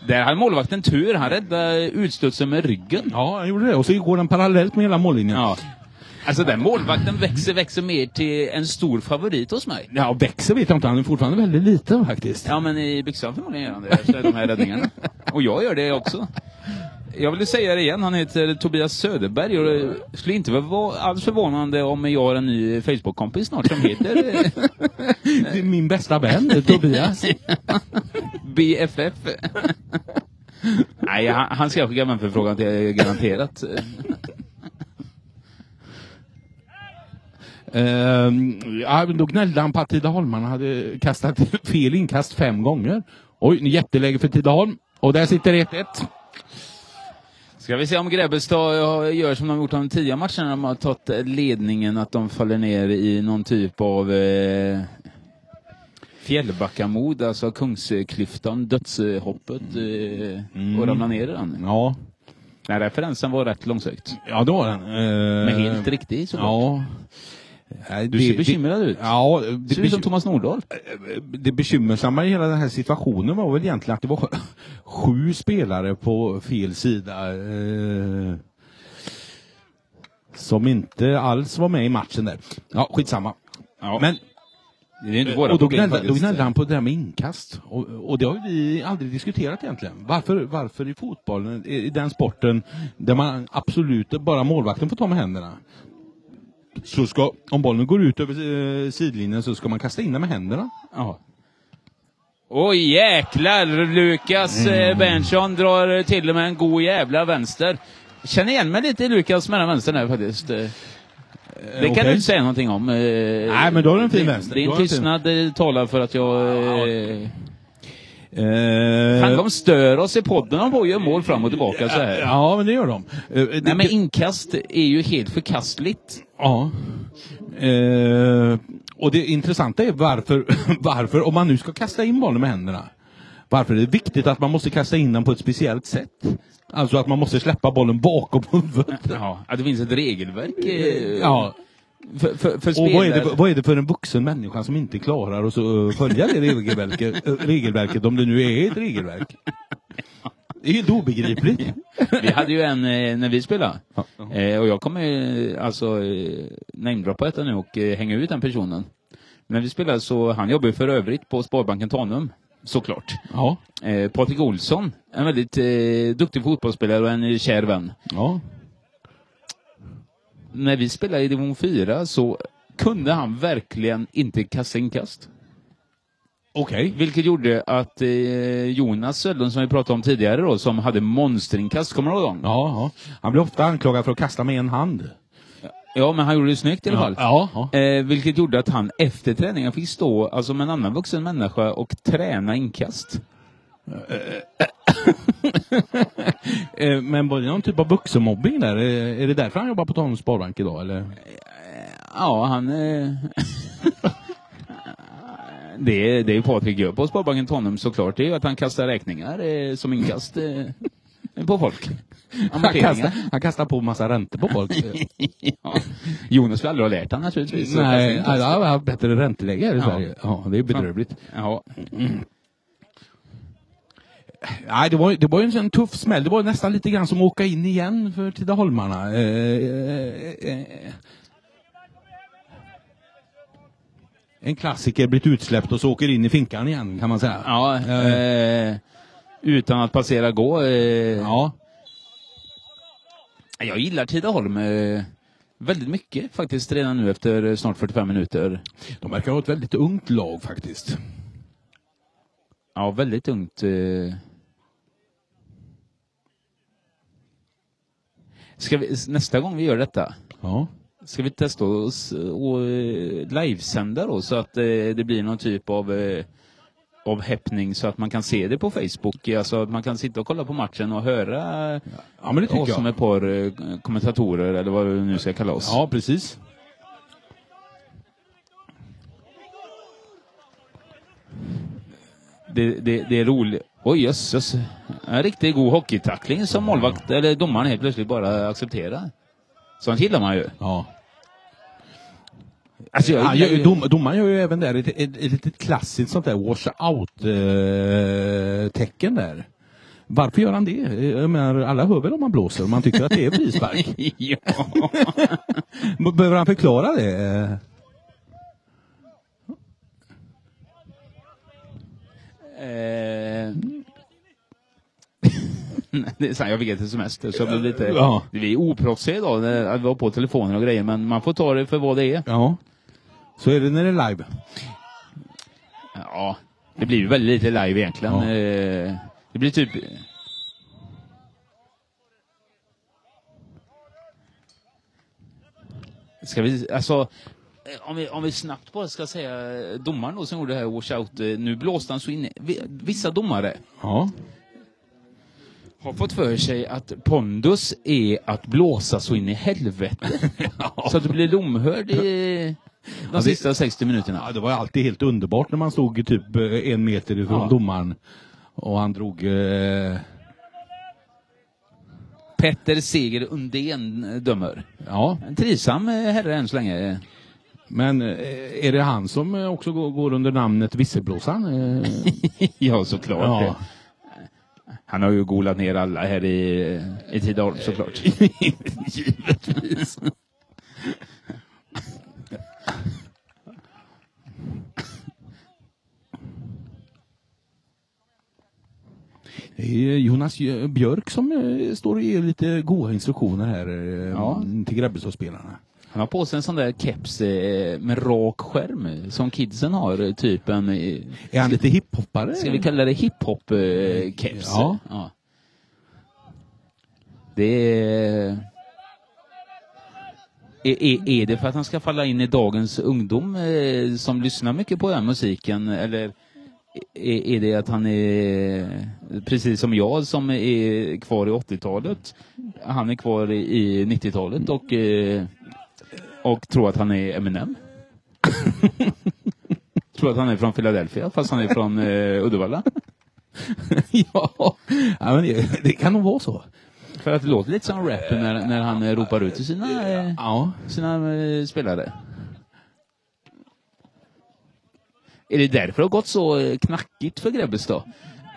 S1: Där hade målvakten tur. Han räddade utstudsen med ryggen.
S2: ja, han gjorde det och så går den parallellt med hela mållinjen.
S1: Ja. Alltså den målvakten växer, växer mer till en stor favorit hos mig.
S2: Ja, växer vet jag inte, han är fortfarande väldigt liten faktiskt.
S1: Ja, men i byxan förmodligen gör han det efter de här räddningarna. Och jag gör det också. Jag vill säga det igen, han heter Tobias Söderberg och det skulle inte vara alls förvånande om jag har en ny Facebook-kompis snart som heter eh,
S2: Det är min bästa vän, (laughs) Tobias.
S1: BFF. Nej, han, han ska skicka vänförfrågan till garanterat.
S2: Ehm, ja, men då gnällde han på att Tidaholmarna hade kastat (laughs) fel inkast fem gånger. Oj, nu jätteläge för Tidaholm. Och där sitter 1-1.
S1: Ska vi se om Grebbestad eh, gör som de gjort de tidigare matcherna när de har tagit ledningen, att de faller ner i någon typ av eh, fjällbackamod, alltså Kungsklyftan, dödshoppet eh, och ramlar ner i den.
S2: Ja,
S1: Den här referensen var rätt långsökt.
S2: ja det var den. Ehm,
S1: Men helt riktig så.
S2: Ja. Nej,
S1: Eh, Du
S2: det-
S1: ser bekymrad ut.
S2: Det, ja,
S1: Du
S2: det,
S1: ser ut som
S2: bekym,
S1: Thomas Nordahl.
S2: det bekymmersamma i hela den här situationen var väl egentligen att det var (laughs) sju spelare på fel sida. eh, som inte alls var med i matchen där. Ja, skitsamma. Men Eh,
S1: det är ju inte våra
S2: Och då
S1: problem
S2: gnällde, då
S1: faktiskt.
S2: gnällde han på det där med inkast. Och, och det har ju vi aldrig diskuterat egentligen. Varför, varför i fotbollen, i i den sporten där man absolut bara målvakten får ta med händerna. Så ska, om bollen går ut över eh, sidlinjen så ska man kasta in den med händerna.
S1: Ja. Oj jäklar! Lukas mm. Berntsson drar till och med en god jävla vänster. Känner igen mig lite i Lukas med den vänstern här faktiskt. Eh, Det kan
S2: okej.
S1: du inte säga någonting om. Nej,
S2: men då har du en fin vänster. Då
S1: Din
S2: har du en fin-
S1: tystnad eh, talar för att jag... eh, Fan,
S2: Eh,
S1: de stör oss i podden. De bara gör mål fram och tillbaka så här.
S2: ja, men det gör de. Eh, det-
S1: Nej, men inkast är ju helt förkastligt.
S2: Ja. Eh, och det intressanta är varför, (laughs) varför, om man nu ska kasta in bollen med händerna, varför är det viktigt att man måste kasta in den på ett speciellt sätt? Alltså att man måste släppa bollen bakom (laughs) huvudet.
S1: Ja, att det finns ett regelverk eh,
S2: Ja.
S1: för, för, för
S2: Och vad är, det,
S1: spelare.
S2: vad är det för en vuxen människa som inte klarar att så, eh, följa
S1: (laughs)
S2: det regelverket, eh, regelverket, om det nu är ett regelverk? Det är helt obegripligt.
S1: Vi hade ju en eh, när vi spelade.
S2: Ja.
S1: Eh, och jag kommer eh, alltså eh, namedroppa detta nu och eh, hänga ut den personen. Men när vi spelade så, han jobbar ju för övrigt på Sparbanken Tanum, såklart.
S2: Ja.
S1: Eh, Patrik Olsson, en väldigt eh, duktig fotbollsspelare och en eh, kär vän.
S2: ja.
S1: När vi spelade i division 4 så kunde han verkligen inte kasta inkast.
S2: Okej.
S1: Vilket gjorde att eh, Jonas Söderlund som vi pratade om tidigare då, som hade monsterinkast, kommer du ihåg honom?
S2: Ja, ja. Han blir ofta anklagad för att kasta med en hand.
S1: Ja, men han gjorde det snyggt i alla fall.
S2: Ja. ja.
S1: Eh, vilket gjorde att han efter träningen fick stå alltså med en annan vuxen människa och träna inkast.
S2: Eh, Men var det någon typ av vuxenmobbing där? Eh, Är det därför han jobbar på Tanums Sparbank idag eller?
S1: Ja, han... Eh... (laughs) det, är- det är ju Patrik gör på Sparbanken Tanum såklart. Det är ju att han kastar räkningar eh, som inkast eh, på folk.
S2: Han kastar,
S1: Amorteringar.
S2: han kastar på massa räntor på (laughs) folk. Eh,
S1: Ja. Jonas skulle aldrig ha lärt han naturligtvis. att kasta
S2: Nej,
S1: inkast.
S2: alla har haft bättre ränteläge här i
S1: Ja.
S2: Sverige. Ja, det är bedrövligt.
S1: Ja.
S2: Nej, det var, ju- det var ju en sån tuff smäll. Det var ju nästan lite grann som att åka in igen för Tidaholmarna. Eh, eh, eh, eh. en klassiker, blivit utsläppt och så åker in i finkan igen kan man säga.
S1: Ja, eh, utan att passera gå. Eh,
S2: Ja.
S1: Jag gillar Tidaholm eh, väldigt mycket faktiskt redan nu efter eh, snart 45 minuter.
S2: De verkar ha ett väldigt ungt lag faktiskt.
S1: Ja, väldigt ungt. eh. Ska vi, s- nästa gång vi gör detta,
S2: Ja.
S1: ska vi testa oss och eh, livesända då så att eh, det blir någon typ av eh, av häppning så att man kan se det på Facebook, alltså att man kan sitta och kolla på matchen och höra
S2: Ja, men det tycker
S1: oss som
S2: jag.
S1: ett par eh, kommentatorer eller vad vi nu ska kalla oss.
S2: Ja, precis.
S1: Det, det, det är roligt. Oj jösses. En riktigt god hockeytackling som målvakt, eller domaren helt plötsligt bara accepterar. Sånt gillar man ju.
S2: Ja.
S1: Alltså jag
S2: Han
S1: gillar
S2: gör,
S1: ju...
S2: ju- dom, domaren gör ju även där ett, ett, ett litet klassiskt sånt där washout-tecken där. Varför gör han det? Eh, Jag menar, alla hör väl om man blåser om man tycker att det är
S1: (laughs)
S2: frispark. (laughs)
S1: ja. (laughs)
S2: B- Behöver han förklara det?
S1: Eh. Nej, det är sant, jag fick ett sms där, så jag blev lite...
S2: Ja.
S1: Vi är oproffsiga idag, när vi var på telefoner och grejer, men man får ta det för vad det är.
S2: Ja. Så är det när det är live.
S1: Ja, det blir ju väldigt lite live egentligen.
S2: Ja.
S1: Eh, Det blir typ... Ska vi, alltså, eh, om vi, om vi snabbt bara ska säga eh, domaren då som gjorde det här washout, eh, nu blåste han så in vi- Vissa domare
S2: Ja.
S1: har fått för sig att pondus är att blåsa så in i helvete. Så att du blir lomhörd i de sista 60 minuterna.
S2: ja. Det var ju alltid helt underbart när man stod typ eh, en meter ifrån
S1: Ja.
S2: domaren. Och han drog... Eh,
S1: Petter Seger Undén eh, dömer.
S2: ja.
S1: En trivsam eh, herre än så länge.
S2: Men eh, är det han som eh, också går, går under namnet visselblåsaren? (laughs) Eh,
S1: (laughs) ja, såklart.
S2: ja.
S1: Han har ju golat ner alla här i, i Tidaholm såklart. Givetvis.
S2: Det är Jonas Jö- Björk som eh, står och ger lite goda instruktioner här eh,
S1: Ja.
S2: till Grebbestadsspelarna.
S1: (laughs) Han har på sig en sån där keps eh, med rak skärm eh, som kidsen har, eh, typ en, eh,
S2: Är han lite hiphoppare?
S1: ska vi kalla det hiphop-keps?
S2: Ja.
S1: ja. Det är... Är, är, är det för att han ska falla in i dagens ungdom eh, som lyssnar mycket på den här musiken eller är, är det att han är precis som jag som är kvar i 80-talet? Han är kvar i i 90-talet och, eh, och tror att han är Eminem. (laughs) tror att han är från Philadelphia fast han är från eh, Uddevalla. (laughs)
S2: ja, (laughs) ja men det, det kan nog vara så.
S1: För att det låter lite som rap när, när han eh, ropar ut till sina, eh,
S2: Ja.
S1: sina eh, spelare. Är det därför det har gått så eh, knackigt för Grebbes då?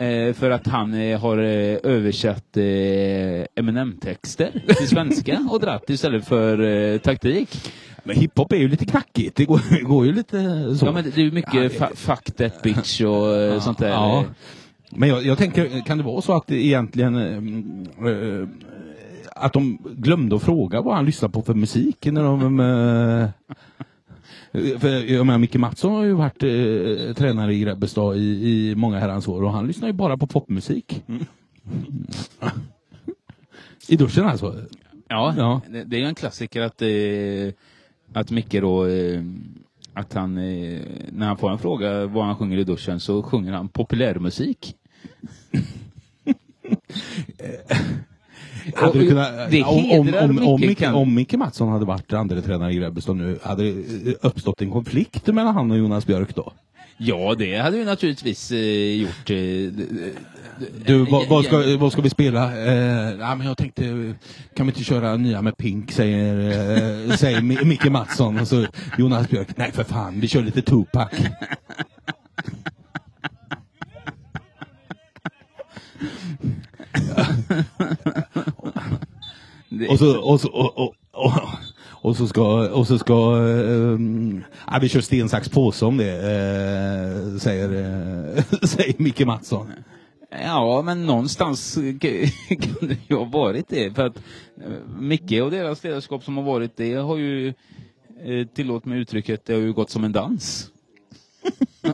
S1: Eh, för att han eh, har eh, översatt eh, Eminem-texter till svenska och dratt istället för eh, taktik.
S2: Men hiphop är ju lite knackigt. Det går, (laughs) det går ju lite så.
S1: Ja men det är ju mycket
S2: Ja, det-
S1: fa- fuck that bitch och eh, sånt där.
S2: Ja. Men jag, jag tänker, kan det vara så att det egentligen eh, eh, att de glömde att fråga vad han lyssnar på för musik när de... eh, För jag menar, Micke Mattsson har ju varit eh, tränare i Grebbestad i, i många herrans år och han lyssnar ju bara på popmusik. I duschen alltså?
S1: Ja,
S2: Ja.
S1: Det, det är ju en klassiker att, eh, att Micke då, eh, att han, eh, när han får en fråga vad han sjunger i duschen så sjunger han populärmusik.
S2: (laughs) Hade du
S1: Och
S2: kunnat,
S1: det
S2: om, om,
S1: hedrar
S2: om, om,
S1: Micke,
S2: Micke,
S1: kan-
S2: om Micke Mattsson hade varit andra tränare i Grebbestad nu, hade det eh, uppstått en konflikt mellan han och Jonas Björk då?
S1: Ja, det hade ju naturligtvis eh, gjort. Eh, d- d-
S2: Du, vad, vad, ska, vad ska vi spela? Eh, nej, men jag tänkte, kan vi inte köra nya med Pink, säger, eh, säger Mi- Micke Mattsson. Och så Jonas Björk, nej för fan, vi kör lite Tupac.
S1: det-
S2: Och så, och så, och, och, och, Och så ska, och så ska ehm, ja, vi kör sten, sax, påse om det, eh, säger, eh, (laughs) säger Micke Mattsson.
S1: Ja, men någonstans (laughs) kan kan det ju ha varit det. För att eh, Micke och deras ledarskap som har varit det har ju, eh, tillåt mig uttrycket, det har ju gått som en dans. (laughs)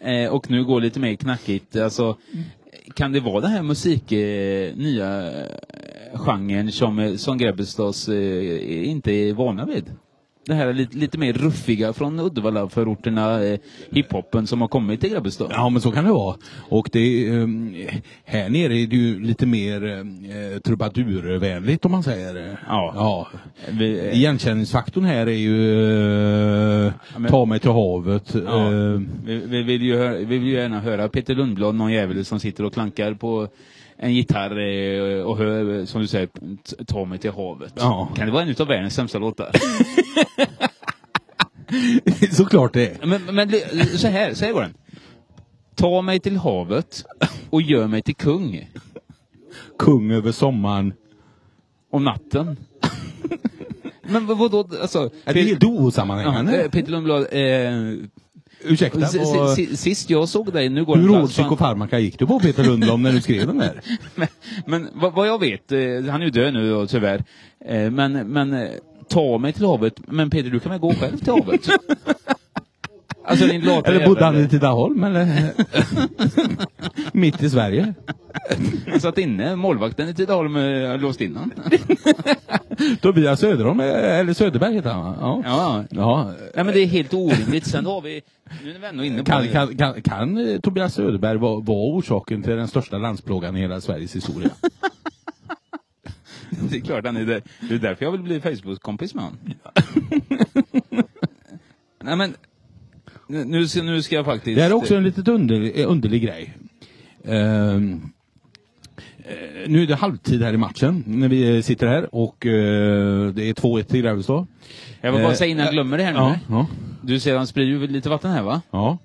S1: Eh, och nu går det lite mer knackigt. Alltså, kan det vara den här musik, eh, nya eh, genren som, eh, som Grebbestads eh, inte är vana vid? Det här är lite, lite mer ruffiga från Uddevalla-förorterna, eh, hiphopen som har kommit till Grebbestad.
S2: Ja men så kan det vara. Och det, är, ehm, här nere är det ju lite mer eh, trubadurvänligt om man säger.
S1: Ja.
S2: ja.
S1: Vi-
S2: Igenkänningsfaktorn här är ju eh,
S1: men-
S2: ta mig till havet.
S1: Ja.
S2: eh, (laughs)
S1: Vi, vi, vill ju hö- vi vill ju gärna höra Peter Lundblad, någon jävel som sitter och klankar på en gitarr eh, och hör, som du säger, t- ta mig till havet.
S2: Ja.
S1: Kan det vara en utav världens sämsta låtar?
S2: Såklart det
S1: (laughs)
S2: är.
S1: men, men li- så här, så här går den. Ta mig till havet och gör mig till kung
S2: Kung över sommaren.
S1: om natten. (laughs) men vad, vadå, alltså?
S2: Är det är helt
S1: ja,
S2: osammanhängande.
S1: eh, Peter Lundblad, eh,
S2: Ursäkta,
S1: si-
S2: vad,
S1: si- si- sist jag såg dig, nu går
S2: hur
S1: den
S2: hård
S1: fast-
S2: psykofarmaka gick du på Peter Lundblom när du skrev den där?
S1: Men, men vad, vad jag vet, eh, han är ju död nu då, tyvärr, eh, men, men eh, ta mig till havet, men Peter du kan väl gå själv till
S2: (laughs)
S1: havet? alltså din lata
S2: Eller bodde han
S1: jävel.
S2: i
S1: (laughs)
S2: Tidaholm eller? Mitt i Sverige.
S1: Han satt inne, målvakten i Tidaholm eh, låst in
S2: (laughs)
S1: honom.
S2: Tobias Söderholm, eh, eller Söderberg heter han va? Ja.
S1: ja.
S2: ja.
S1: Nej men det är helt orimligt, sen har vi, nu är vi ändå inne på
S2: Kan,
S1: det.
S2: kan, kan, kan eh, Tobias Söderberg vara vara orsaken till den största landsplågan i hela Sveriges historia?
S1: Det är klart han är det. Det är därför jag vill bli Facebook-kompis med honom. (laughs) Nej men, nu- nu ska, nu ska jag faktiskt...
S2: Det här är också en lite under, eh, underlig grej. Ehm, eh, nu är det halvtid här i matchen när vi eh, sitter här och eh, det är 2-1 till Grebbestad.
S1: Jag vill bara
S2: Eh,
S1: säga innan jag glömmer det här nu.
S2: Ja, ja,
S1: Du ser han sprider ju lite vatten här va?
S2: ja.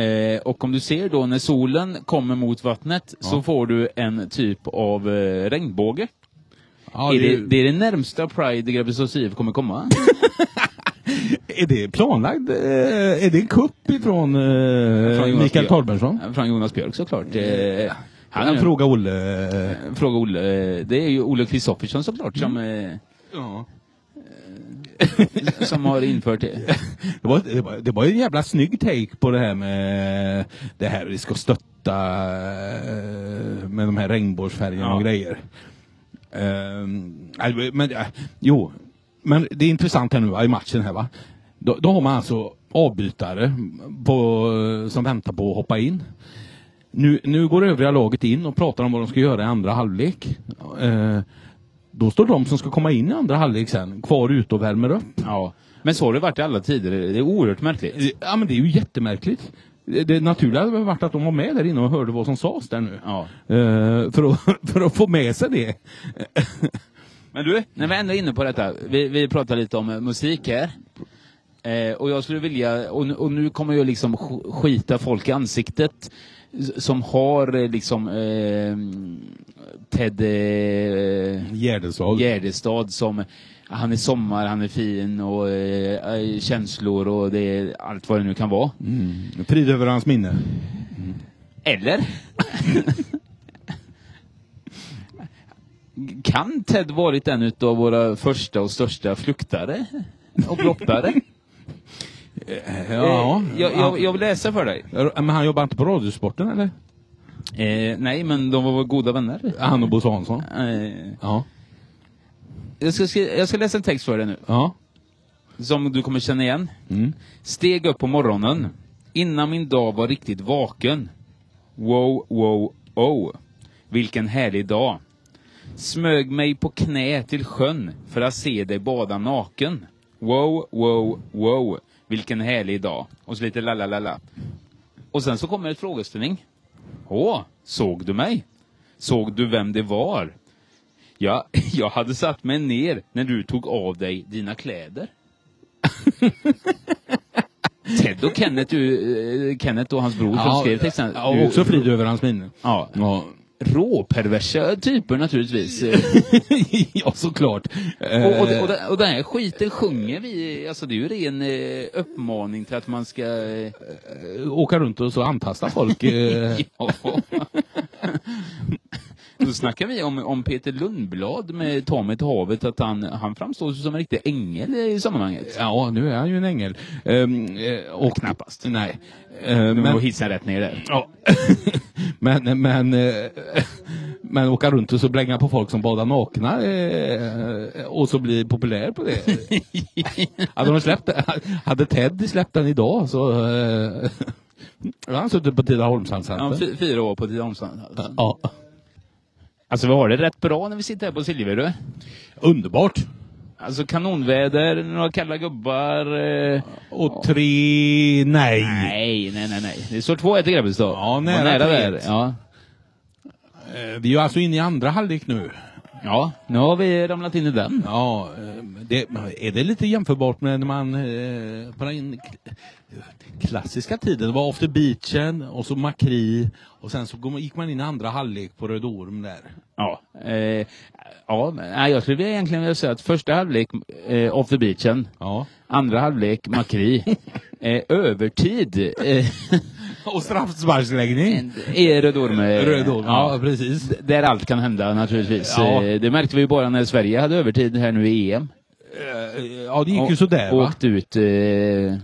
S1: Eh, och om du ser då när solen kommer mot vattnet så får du en typ av eh, regnbåge.
S2: ja
S1: är det,
S2: det,
S1: det är det närmsta Pride Grebbestads IF kommer (laughs) komma.
S2: är det planlagd? eh, Är det en kupp ifrån
S1: Från
S2: eh,
S1: Jonas
S2: Mikael
S1: Björk.
S2: Torbenson?
S1: Från Jonas Björk såklart. Eh, han
S2: Han
S1: är frå-
S2: frågar Olle. eh,
S1: fråga Olle. eh, Det är ju Olle Kristoffersson såklart som, eh, som har infört det.
S2: Det var, det, var, det var en jävla snygg take på det här med det här vi ska stötta eh, med de här regnbågsfärgerna
S1: Ja.
S2: och grejer. Ehm, nej, men, eh, jo, men det är intressant här nu va, i matchen här va. Då, då har man alltså avbytare på, som väntar på att hoppa in. Nu, nu går övriga laget in och pratar om vad de ska göra i andra halvlek. Eh, då står de som ska komma in i andra halvlek sen kvar ute och värmer upp.
S1: (laughs) Ja. Men så har det varit i alla tider. Det är oerhört märkligt.
S2: Ja men det är ju jättemärkligt. Det det naturliga hade väl varit att de var med där inne och hörde vad som sades där nu.
S1: Ja.
S2: Eh, för, att, (laughs) för att få med sig det.
S1: Men du, när vi ändå är inne på detta, vi, vi pratar lite om eh, musik här. Eh, och jag skulle vilja, och, nu- och nu kommer jag liksom sk- skita folk i ansiktet s- som har eh, liksom eh, Ted eh,
S2: Gärdeslag.
S1: Gärdestad som, han är sommar, han är fin och eh, eh, känslor och det är allt vad det nu kan vara.
S2: Mm. Frid över hans minne.
S1: Eller? kan Ted varit en utav våra första och största fluktare? Och blottare?
S2: Ja.
S1: Eh, jag, jag, jag vill läsa för dig.
S2: Ja, Men han jobbar inte på Radiosporten eller?
S1: Eh, nej, men de var väl goda vänner.
S2: Han och Bosse Hansson?
S1: Eh,
S2: Ja.
S1: jag, ska, skri- jag ska läsa en text för dig nu,
S2: Ja.
S1: som du kommer känna igen.
S2: Mm.
S1: Steg upp på morgonen, innan min dag var riktigt vaken. Wow, wow, oh. Vilken härlig dag. Smög mig på knä till sjön för att se dig bada naken. Wow, wow, wow. Vilken härlig dag. Och så lite la, la, la, la. Och sen så kommer ett frågeställning. Åh, såg du mig? Såg du vem det var? Ja, (laughs) jag hade satt mig ner när du tog av dig dina kläder. Ted och Kenneth, eh, Kenneth och hans bror som skrev texten.
S2: ja, (laughs) och också frid över hans minne.
S1: Ja.
S2: Ja.
S1: råperversa typer (laughs) naturligtvis.
S2: ja, såklart. Eh,
S1: Och, och, och, den- och den här skiten sjunger vi, alltså det är ju ren eh, uppmaning till att man ska... eh, (laughs)
S2: åka runt och så antasta folk. eh,
S1: Ja. (laughs) Då snackar vi om, om Peter Lundblad med Ta mig till havet, att han, han framstår som en riktig ängel i sammanhanget.
S2: ja, nu är han ju en ängel. Ehm, eh, och,
S1: Knappast.
S2: Nej. Eh,
S1: Men, och
S2: men,
S1: hissa rätt ner där.
S2: ja. (laughs) men, men, eh, men åka runt och så blänga på folk som badar nakna eh, och så bli populär på det. (laughs) hade, de släppt, hade Ted släppt den idag så... Eh, (laughs) då hade han suttit
S1: (laughs)
S2: på
S1: Ja,
S2: Tidaholmsanstalten.
S1: fy- fyra år på Tidaholmsanstalten.
S2: Ja,
S1: Alltså vi har det rätt bra när vi sitter här på Silverö.
S2: Underbart!
S1: Alltså kanonväder, några kalla gubbar. Eh...
S2: Och tre... Nej!
S1: Nej, nej, nej, nej. Det står 2-1 i Grebbestad.
S2: Ja, nära
S1: Var
S2: till
S1: där.
S2: ett.
S1: Ja.
S2: Eh, Vi är ju alltså inne i andra halvlek nu.
S1: ja, nu har vi ramlat in i den.
S2: Ja, eh, det, är det lite jämförbart med när man eh, på den k- klassiska tiden, det var After Beachen och så Makri och sen så går man- gick man in i andra halvlek på Röde Orm där.
S1: Ja. Eh, ja, men, nej, jag skulle vilja egentligen vilja säga att första halvlek, eh, off the beachen.
S2: Ja.
S1: Andra halvlek, (laughs) Makri. eh, övertid. Eh, (laughs)
S2: Och straffsparksläggning.
S1: är Röd Orm. eh,
S2: Röde Orm, ja,
S1: Ja.
S2: precis.
S1: d- Där allt kan hända naturligtvis.
S2: Ja.
S1: Eh, Det märkte vi ju bara när Sverige hade övertid här nu i EM.
S2: Eh, Ja, det gick ju
S1: Och-
S2: sådär
S1: och
S2: va.
S1: Åkte ut. Eh,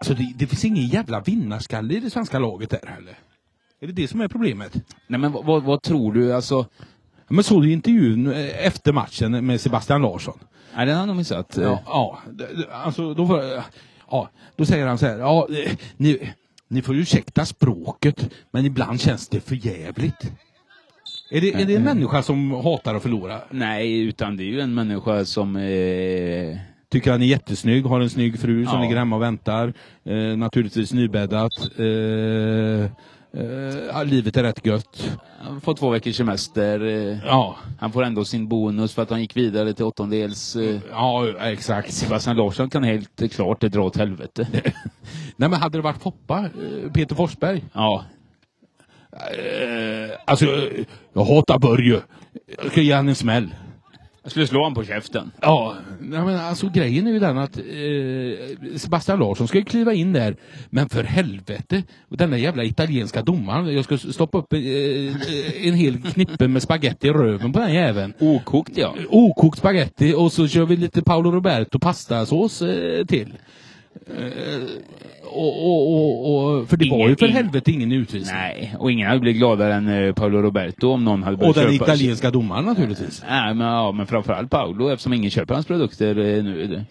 S2: Alltså det, det finns ingen jävla vinnarskalle i det svenska laget där heller. Är det det som är problemet?
S1: nej men vad, vad, vad tror du alltså?
S2: Men såg du intervjun eh, efter matchen med Sebastian Larsson?
S1: Nej, den har jag nog missat. eh,
S2: Ja, ja d- d- alltså då, får- ja, då säger han så här. Ja, eh, ni, ni får ursäkta språket, men ibland känns det för jävligt. Är det, är det en människa som hatar att förlora?
S1: Nej, utan det är ju en människa som... Eh,
S2: Tycker han är jättesnygg, har en snygg fru som
S1: Ja.
S2: ligger hemma och väntar. Eh, naturligtvis nybäddat. Eh, eh, ja, livet är rätt gött.
S1: han får två veckors semester. Eh,
S2: Ja,
S1: han får ändå sin bonus för att han gick vidare till åttondels. Eh,
S2: ja exakt.
S1: Sebastian Larsson kan helt eh, klart dra åt helvete.
S2: (laughs) Nej men hade det varit Foppa, eh, Peter Forsberg,
S1: ja.
S2: Eh, alltså, eh, jag hatar Börje. Jag ska ge han en smäll.
S1: Jag skulle slå honom på käften.
S2: Ja, nej, men alltså grejen är ju den att eh, Sebastian Larsson ska ju kliva in där. Men för helvete, och den där jävla italienska domaren. Jag ska stoppa upp eh, eh, en hel knippe med spaghetti i röven på den jäveln.
S1: Okokt ja.
S2: Okokt spaghetti och så kör vi lite Paolo Roberto pastasås eh, till. Eh, och, och, och, och, för det var ju
S1: Ingen-
S2: för
S1: ingen-
S2: helvete ingen utvisning.
S1: Nej, och ingen hade blivit gladare än eh, Paolo Roberto om någon hade
S2: Och
S1: börjat
S2: den
S1: köpa...
S2: italienska domaren naturligtvis.
S1: Nej, men, ja, men framförallt Paolo eftersom ingen köper hans produkter eh,
S2: (laughs)
S1: nu.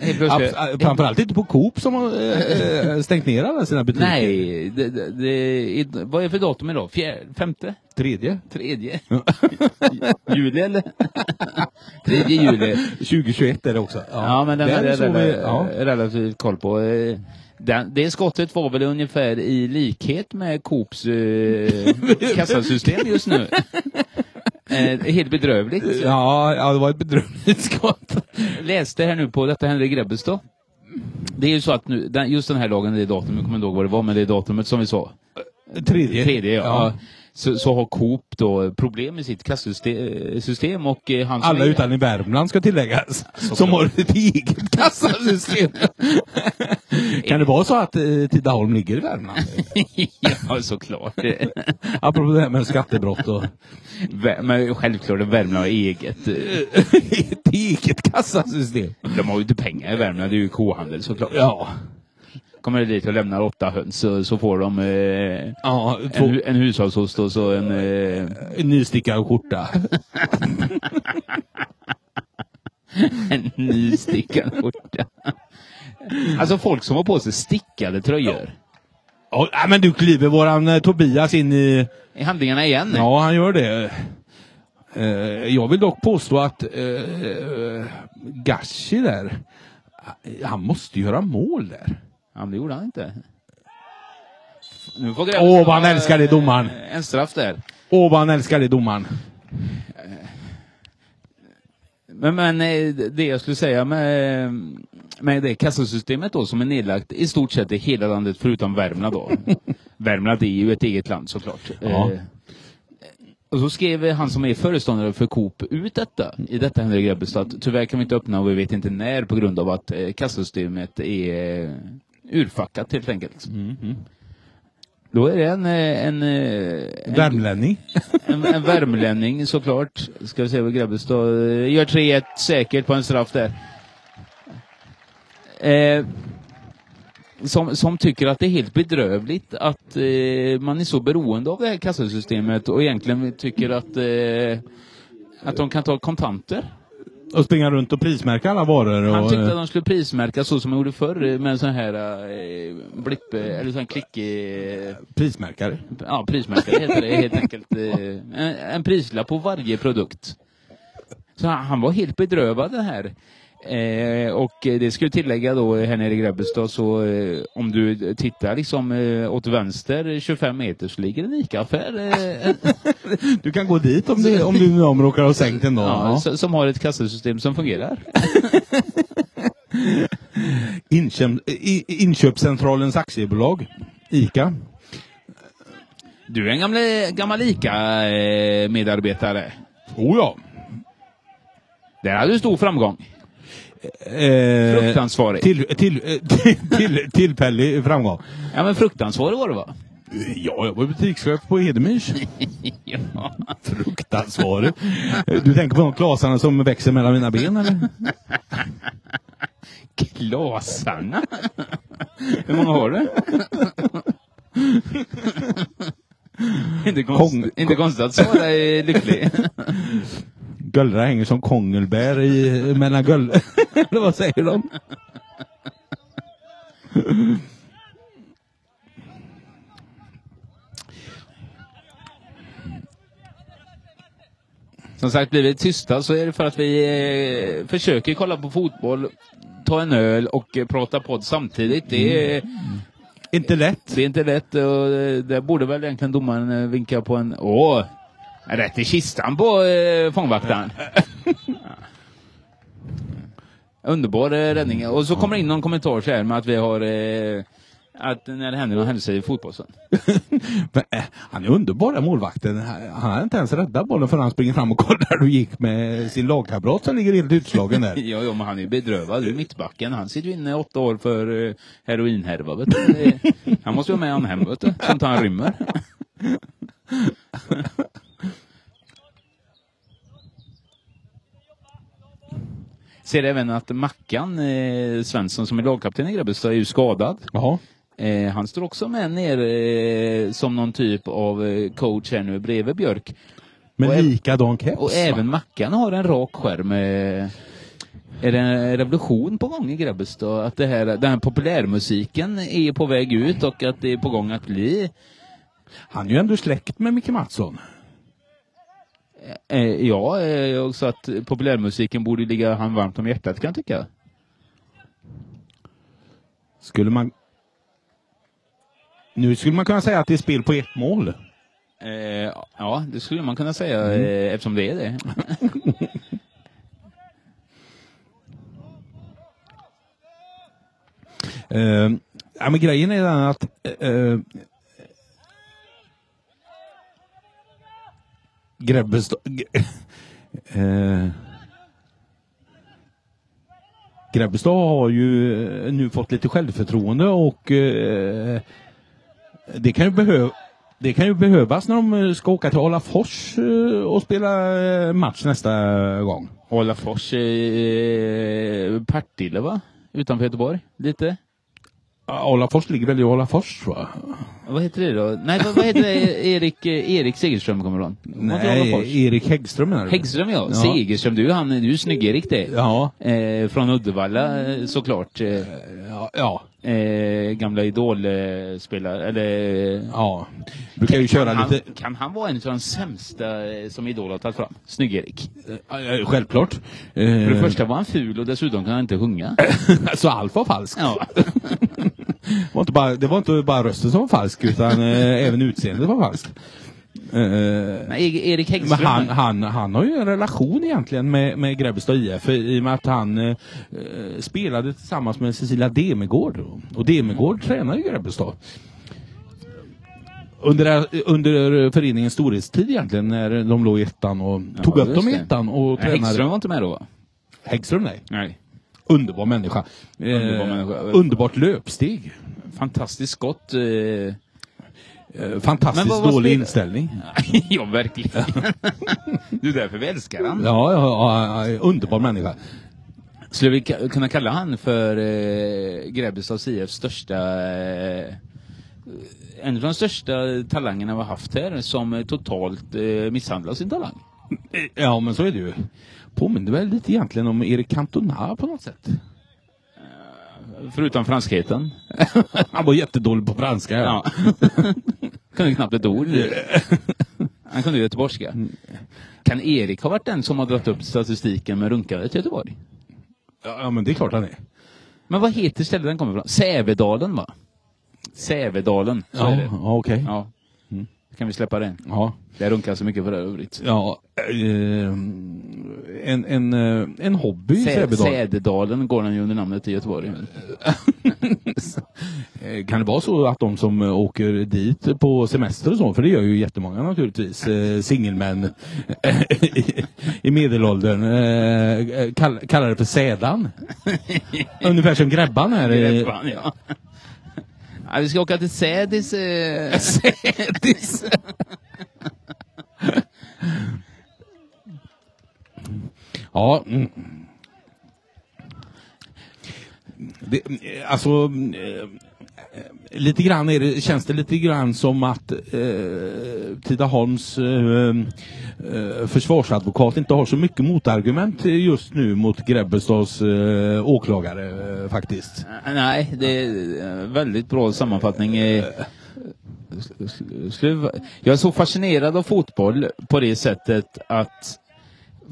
S1: Helt plötsligt-
S2: Abs- äh, framförallt inte på Coop som har eh, eh, stängt ner alla sina butiker.
S1: Nej, det, det, det, vad är det för datum idag? Fjär, femte?
S2: Tredje.
S1: Tredje? juli
S2: (laughs)
S1: eller? Tredje juli.
S2: 2021 är det också.
S1: Ja, men den hade jag
S2: såg vi-
S1: rela-
S2: ja.
S1: relativt koll på. Eh, Den, det skottet var väl ungefär i likhet med Coops
S2: (laughs)
S1: eh, kassasystem just nu. Eh, helt bedrövligt.
S2: Ja, ja, det var ett bedrövligt skott.
S1: läste här nu på detta Henrik Grebbestad. Det är ju så att nu, den, just den här dagen, det är datumet, jag kommer inte ihåg vad det var, men det är datumet som vi sa.
S2: Tredje.
S1: Tredje, ja. Så, så har Coop då problem med sitt kassasystem system och eh, han som
S2: Alla
S1: är-
S2: utan i Värmland ska tilläggas. som har ett eget
S1: (laughs)
S2: kassasystem. kan det vara så att eh, Tidaholm ligger
S1: (laughs)
S2: i Värmland?
S1: ja, såklart. Det-
S2: Apropå det här med
S1: (laughs)
S2: skattebrott och
S1: Vä- men självklart, Värmland har eget. eh,
S2: ett eget kassasystem.
S1: De har ju inte pengar i Värmland, det är ju kohandel såklart.
S2: Ja.
S1: Kommer de dit och lämnar åtta höns så, så får de eh,
S2: Ja, två,
S1: en, hu- en hushållsost och så en... Eh,
S2: en nystickad skjorta.
S1: En ny stickad skjorta. Alltså folk som har på sig stickade tröjor.
S2: Ja, nej, men du kliver våran eh, Tobias in i...
S1: I handlingarna igen.
S2: Ja, han gör det. Eh, jag vill dock påstå att uh, Gashi där, han måste göra mål där.
S1: Ja, men det gjorde han inte. Nu får Grebbestad,
S2: Åh, vad han älskar det, domaren.
S1: eh, En straff där.
S2: Åh, vad han älskar det, domaren.
S1: Men, men eh, det jag skulle säga med, med det kassasystemet då som är nedlagt i stort sett i hela landet förutom Värmland då. Värmland är ju ett eget land såklart.
S2: Ja.
S1: Eh, Och så skrev han som är föreståndare för Coop ut detta, i detta Henrik Grebbestad, att tyvärr kan vi inte öppna och vi vet inte när på grund av att eh, kassasystemet är eh, urfackat helt enkelt. Då är det en, eh, en, eh, en,
S2: Värmlänning.
S1: en, en värmlänning såklart. Ska vi se vad Grebbestad eh, gör 3-1 säkert på en straff där. Eh, som, som tycker att det är helt bedrövligt att eh, man är så beroende av det här kassasystemet och egentligen tycker att, eh, att de kan ta kontanter.
S2: Och springa runt och prismärka alla varor. Och,
S1: Han tyckte att
S2: eh,
S1: de skulle prismärka så som man gjorde förr eh, med en sån här eh, blipp, eh, eller sån här klick... Eh,
S2: Prismärkare.
S1: Ja, prismärkare heter det helt enkelt. Eh, En, en prislapp på varje produkt. Så han, han var helt bedrövad det här. Eh, och eh, det skulle tillägga då eh, här nere i Grebbestad så eh, om du tittar liksom eh, åt vänster eh, 25 meter så ligger det en ICA-affär eh,
S2: Du kan gå dit om du, om du om råkar ha sänkt en dag.
S1: ja,
S2: Ja.
S1: s- som har ett kassasystem som fungerar.
S2: Inköp, i- inköpscentralens aktiebolag. ICA.
S1: Du är en gamle, gammal eh, ICA-medarbetare.
S2: Oh ja.
S1: Där hade du stor framgång.
S2: Eh,
S1: Fruktansvarig.
S2: till, till, eh, (laughs) till, till, tillfällig framgång.
S1: Ja men fruktansvarig var det va?
S2: Ja, jag var butikschef på Hedemyrs.
S1: Ja.
S2: Fruktansvarig. Du tänker på de klasarna som växer mellan mina ben eller?
S1: Klasarna? (laughs) Hur många har du? (laughs) inte, konst,
S2: Kong-
S1: inte konstigt att Sara är (laughs) lycklig.
S2: Göllra hänger som kongelbär i, mellan göll... (laughs) eller vad säger de?
S1: Som sagt, blir vi tysta så är det för att vi eh, försöker kolla på fotboll, ta en öl och eh, prata podd samtidigt. Det är,
S2: Inte lätt.
S1: det är inte lätt. Och, eh, där borde väl egentligen domaren eh, vinka på en... Åh! Rätt i kistan på eh, fångvaktaren. (laughs) Underbar eh, räddning. Och så kommer det in någon kommentar så här med att vi har... Eh, att när det händer någon händelse i fotbollen.
S2: (laughs) Men, eh, han är underbar den målvakten. Han- Han hade inte ens räddat bollen förrän han springer fram och kollar hur det gick med sin lagkamrat som ligger helt utslagen
S1: (laughs)
S2: där.
S1: Ja, ja, men han är ju bedrövad. Det är mittbacken. Han sitter ju inne i åtta år för eh, heroinhärva, vet du. Det är- Han måste ju ha med han hem, vet du. Sånt han rymmer. (laughs) Ser även att Mackan eh, Svensson som är lagkapten i Grebbestad är ju skadad.
S2: Jaha.
S1: Eh, han står också med nere eh, som någon typ av eh, coach här nu bredvid Björk. Och
S2: Men
S1: även-
S2: likadan keps.
S1: Och
S2: va?
S1: även Mackan har en rak skärm. eh. Är det en revolution på gång i Grebbestad? Att det här, den här populärmusiken är på väg ut och att det är på gång att bli...
S2: Han är ju ändå släkt med Micke Mattsson.
S1: Eh, ja, eh, och så att populärmusiken borde ligga han varmt om hjärtat kan jag tycka.
S2: Skulle man... Nu skulle man kunna säga att det är spel på ett mål.
S1: Eh, ja, det skulle man kunna säga eh, eftersom det är det.
S2: Eh, ja, men grejen är den att... Eh, Grebbestad... (laughs) Eh, Grebbestad har ju eh, nu fått lite självförtroende och eh, det kan ju behöva det kan ju behövas när de eh, ska åka till Alafors eh, och spela eh, match nästa gång.
S1: Hålafors, eh, Partille va? Utanför Göteborg, lite.
S2: Alafors ligger väl i Alafors va?
S1: Vad heter det då? Nej, vad, vad heter det Erik, eh, Erik Segerström kommer ifrån? Hållafors.
S2: Nej, Erik Häggström menar du?
S1: Häggström ja,
S2: Ja.
S1: Segerström, du, han, du är snygg Erik det.
S2: Ja.
S1: Eh, från Uddevalla eh, såklart. Eh,
S2: Ja, ja.
S1: eh, gamla idolspelare, eller...
S2: ja. Brukar ju köra
S1: han,
S2: lite...
S1: kan han vara en av de sämsta eh, som Idol har tagit fram? Snygg-Erik.
S2: Ja, ja, Självklart.
S1: För det
S2: Eh,
S1: första var han ful och dessutom kan han inte
S2: (laughs)
S1: sjunga.
S2: så allt var falskt.
S1: Ja.
S2: Det var inte bara, det var inte bara rösten som var falsk utan eh, även utseendet var falskt. Eh,
S1: Nej, E- Erik
S2: men
S1: Häggström.
S2: han, han, han har ju en relation egentligen med, med Grebbestad IF i och med att han eh, eh, spelade tillsammans med Cecilia Demegård. Och Demegård tränar ju Grebbestad. under, under föreningens storhetstid egentligen, när de låg i ettan och tog upp
S1: just
S2: dem i
S1: det.
S2: ettan och
S1: Nej,
S2: tränade.
S1: Häggström var inte med då va?
S2: Häggström, nej.
S1: Nej.
S2: Underbar människa. Eh,
S1: Underbar människa.
S2: Underbart löpsteg.
S1: Fantastiskt skott. Eh... (laughs)
S2: Eh, Fantastiskt
S1: Men vad- vad
S2: dålig
S1: spelar-
S2: inställning.
S1: ja, verkligen. (laughs) du är därför vi älskar han.
S2: Ja, ja, ja, underbar människa.
S1: Skulle vi ka- kunna kalla han för eh, Grebbestads IFs största... Eh, en av de största talangerna vi har haft här som eh, totalt eh, misshandlar sin talang.
S2: Ja, men så är det ju. Påminner väl lite egentligen om Erik Cantona på något sätt.
S1: Förutom franskheten.
S2: Han var jättedålig på franska.
S1: Ja. (laughs) kunde knappt ett ord. Han kunde göteborgska. Kan Erik ha varit den som har dragit upp statistiken med runkare till Göteborg?
S2: Ja, ja, men det är klart han är.
S1: Men vad heter stället den kommer ifrån? Sävedalen va? Sävedalen. Så
S2: Ja,
S1: är det.
S2: ja okej. Ja.
S1: Ja. Kan vi släppa det?
S2: Ja.
S1: Det runkar så mycket för övrigt.
S2: eh, en, en, eh, en hobby i
S1: Sä-
S2: Sävedalen.
S1: Sädedalen går den ju under namnet i Göteborg.
S2: (laughs) Eh, Kan det vara så att de som eh, åker dit på semester och så, för det gör ju jättemånga naturligtvis, eh, singelmän (laughs) i- i medelåldern, eh, eh, kall, kallar det för sädan? Ungefär som grabban här. eh,
S1: Gräddfan, ja. (laughs) ja. Vi ska åka till Sädis. Eh... Sädis?
S2: Ja. Mm. Det, eh, alltså, eh, eh, lite grann är det, känns det lite grann som att eh, Tidaholms eh, eh, försvarsadvokat inte har så mycket motargument just nu mot Grebbestads eh, åklagare eh, faktiskt.
S1: (laughs) Nej, det är eh, väldigt bra sammanfattning. eh. S- s- skulle- Jag är så fascinerad av fotboll på det sättet att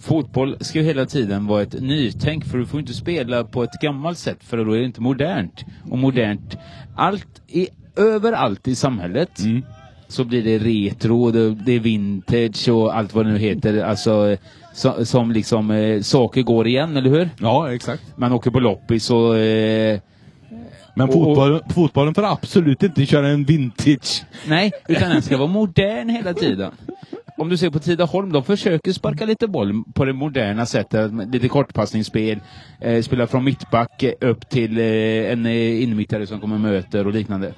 S1: fotboll ska ju hela tiden vara ett nytänk för du får inte spela på ett gammalt sätt för då är det inte modernt. Och modernt, allt i, överallt i samhället
S2: Mm.
S1: så blir det retro, det, det är vintage och allt vad det nu heter. Alltså, eh, så, som liksom eh, saker går igen, eller hur?
S2: Ja, exakt.
S1: Man åker på loppis och eh,
S2: Men
S1: Och- och-
S2: fotboll, fotbollen får absolut inte köra en vintage.
S1: Nej, utan den ska vara modern hela tiden. Om du ser på Tidaholm, de försöker sparka lite boll på det moderna sättet. med Lite kortpassningsspel, eh, spela från mittback eh, upp till eh, en eh, innermittare som kommer och möter och liknande.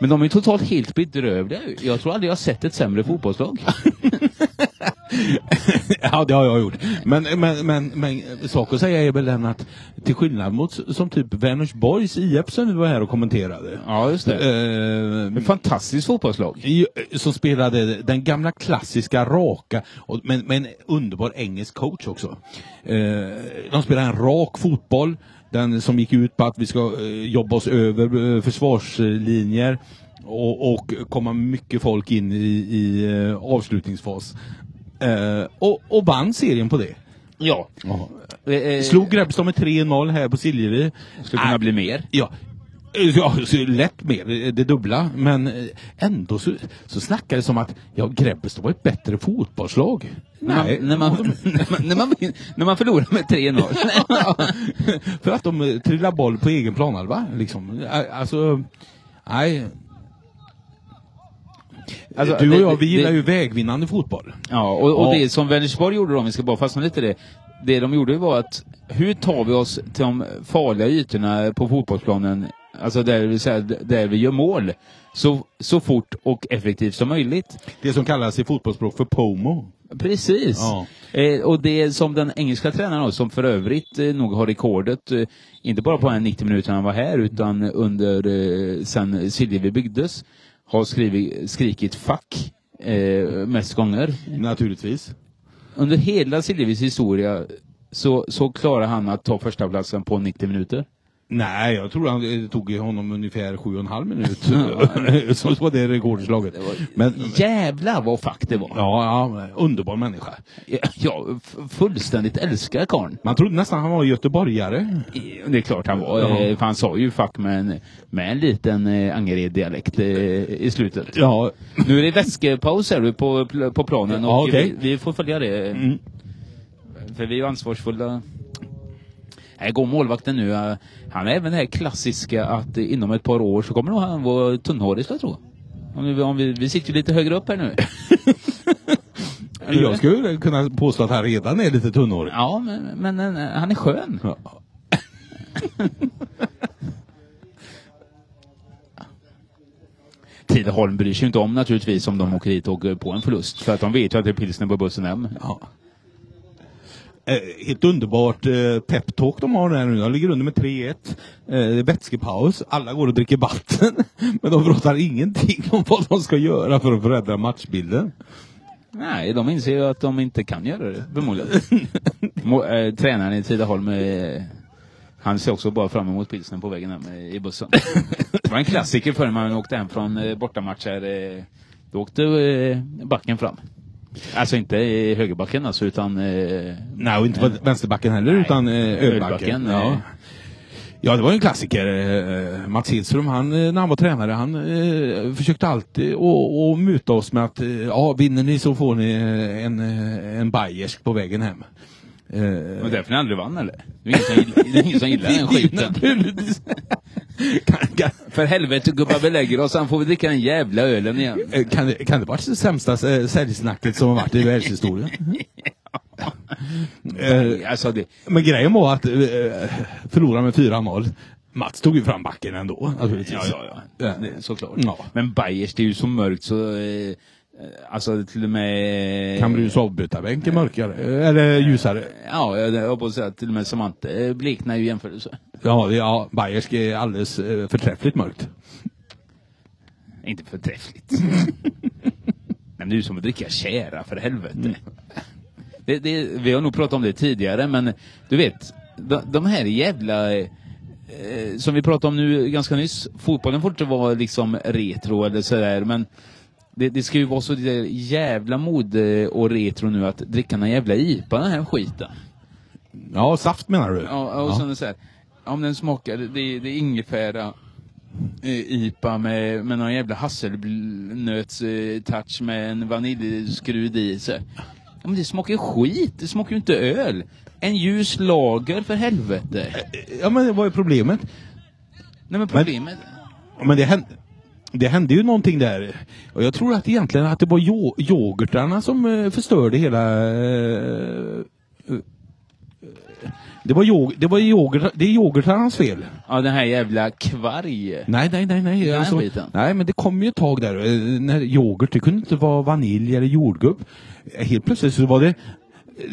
S1: Men de är totalt helt bedrövliga. Jag tror aldrig jag har sett ett sämre fotbollslag.
S2: (laughs) Ja, det har jag gjort. Men, men, men, men sak att säga är väl den att till skillnad mot s- som typ Vänersborgs IF som vi var här och kommenterade.
S1: Ja, just
S2: Eh,
S1: Ett fantastiskt fotbollslag.
S2: i- eh, som spelade den gamla klassiska raka, och, men, men underbar engelsk coach också. Eh, de spelade en rak fotboll, den som gick ut på att vi ska eh, jobba oss över eh, försvarslinjer och, och komma mycket folk in i, i eh, avslutningsfas. Eh, och, och vann serien på det.
S1: Ja. Eh, eh,
S2: Slog Grebbestad med 3-0 här på Siljevi.
S1: Skulle kunna bli mer.
S2: Ja. eh, Ja, så lätt mer, det dubbla. Men eh, ändå så, så snackar det som att ja, Grebbestad var ett bättre fotbollslag.
S1: När, man, när, man, (laughs) när, man, när, man, vin- när man förlorar med 3-0.
S2: (laughs) För att de eh, trillar boll på egen planhalva. Liksom. Eh, Alltså, nej.
S1: Alltså,
S2: du och
S1: det-
S2: jag, vi
S1: det-
S2: gillar ju vägvinnande fotboll.
S1: (laughs) Ja, och, och
S2: Ja.
S1: det som Vänersborg gjorde då, om vi ska bara fastna lite i det. Det de gjorde var att, hur tar vi oss till de farliga ytorna på fotbollsplanen, alltså där vi, så här, där vi gör mål, så, så fort och effektivt som möjligt?
S2: Det som kallas i fotbollsspråk för POMO.
S1: Precis.
S2: Ja.
S1: Eh, och det som den engelska tränaren har, som för övrigt eh, nog har rekordet, eh, inte bara på den 90 minuter han var här, utan under eh, sen Siljevi byggdes, har skrivit, skrikit 'fuck' eh, mest gånger.
S2: Naturligtvis.
S1: Under hela Siljevis historia så, så klarar han att ta första platsen på 90 minuter.
S2: Nej, jag tror han, det tog honom ungefär sju och en
S1: (laughs)
S2: halv minut. (laughs) så så var det rekordslaget. Men,
S1: Jävlar vad fack det var!
S2: ja, ja, underbar människa.
S1: Jag f- fullständigt älskar karln.
S2: Man trodde nästan han var göteborgare.
S1: Eh, Det är klart han var,
S2: Ja.
S1: eh, för han sa ju fuck med en, med en liten eh, Angered-dialekt eh, i slutet.
S2: Ja,
S1: Nu är det väskepaus här på, på planen och
S2: Ja, okej. Mm.
S1: vi, vi får följa det. För vi är ju ansvarsfulla. Här går målvakten nu. eh, Han är även det här klassiska att eh, inom ett par år så kommer nog han vara tunnhårig skulle jag tro. Om vi, om vi, vi sitter ju lite högre upp här
S2: (laughs)
S1: nu.
S2: Jag skulle kunna påstå att han redan är lite tunnhårig.
S1: Ja, men, men eh, han är skön.
S2: Ja.
S1: (laughs) Tidaholm bryr sig ju inte om naturligtvis om de åker hit och åker på en förlust. För att de vet ju att det är pilsner på bussen hem.
S2: Ja. Eh, helt underbart eh, peptalk de har där nu. De ligger under med 3-1. Eh, det är vätskepaus. Alla går och dricker vatten. (laughs) Men de pratar ingenting om vad de ska göra för att förändra matchbilden.
S1: Nej, de inser ju att de inte kan göra det (laughs) förmodligen. Må, eh, tränaren i Tidaholm, eh, han ser också bara fram emot pilsnen på vägen hem eh, i bussen. Det var en klassiker förr när man åkte hem från eh, bortamatcher. Eh, då åkte eh, backen fram. Alltså inte eh, högerbacken alltså, utan... Eh,
S2: Nej, och inte på vänsterbacken heller
S1: Nej.
S2: utan eh,
S1: Ölbacken,
S2: ölbacken.
S1: nej.
S2: Ja. ja, det var ju en klassiker. Eh, Mats Hedström, han, eh, när han var tränare, han eh, försökte alltid att muta oss med att eh, ja, vinner ni så får ni eh, en, eh, en bayersk på vägen hem. Eh,
S1: var det därför ni aldrig vann eller? Det är ingen som gill- det är ingen som gillar den skiten. (laughs)
S2: Naturligtvis. (laughs) kan, kan,
S1: För helvete gubbar, vi lägger oss. Sen får vi dricka den jävla ölen igen.
S2: eh, kan, det- kan det vara det sämsta eh, säljsnacket som har varit
S1: (laughs)
S2: i världshistorien? Eh,
S1: Alltså det,
S2: Men grejen var att eh, förlora med 4-0. Mats tog ju fram backen ändå naturligtvis.
S1: Ja, ja, ja. Det, är såklart.
S2: Ja.
S1: Men Bayers, det är ju så mörkt så... Eh, eh, alltså till och med...
S2: Kan Bruns avbytarbänk är mörkare, eh, eller ljusare.
S1: Ja, jag jag höll på att säga att till och med Samante eh, bleknar ju i jämförelse.
S2: Ja, det- ja Bayersk är alldeles eh, förträffligt mörkt.
S1: Inte förträffligt. men det är ju som att dricka tjära, för helvete. Det, det, vi har nog pratat om det tidigare, men du vet, de, de här jävla... eh, Eh, som vi pratade om nu ganska nyss, fotbollen får inte vara liksom retro eller sådär, men det, det ska ju vara så där jävla mode och retro nu att dricka någon jävla IPA, den här skiten.
S2: Ja, saft menar du?
S1: Ja, och sen så här, om den smakar, det, det är ingefära eh, IPA med, med någon jävla hasselnöts-touch med en vaniljskrud i sig. Ja, men det smakar ju skit, det smakar ju inte öl. En ljus lager för helvete.
S2: ja, men vad är problemet?
S1: Nej men problemet...
S2: Men det hände, det hände ju någonting där. Och jag tror att egentligen att det var yo- yoghurtarna som eh, förstörde hela... eh, eh, det var, yog- det var yoghurt, det är yoghurtarnas fel.
S1: Ja, den här jävla kvarg.
S2: Nej, nej, nej, nej.
S1: Den
S2: Alltså,
S1: biten.
S2: nej, men det kom ju ett tag där eh, när yoghurt, det kunde inte vara vanilj eller jordgubb. Eh, Helt plötsligt så var det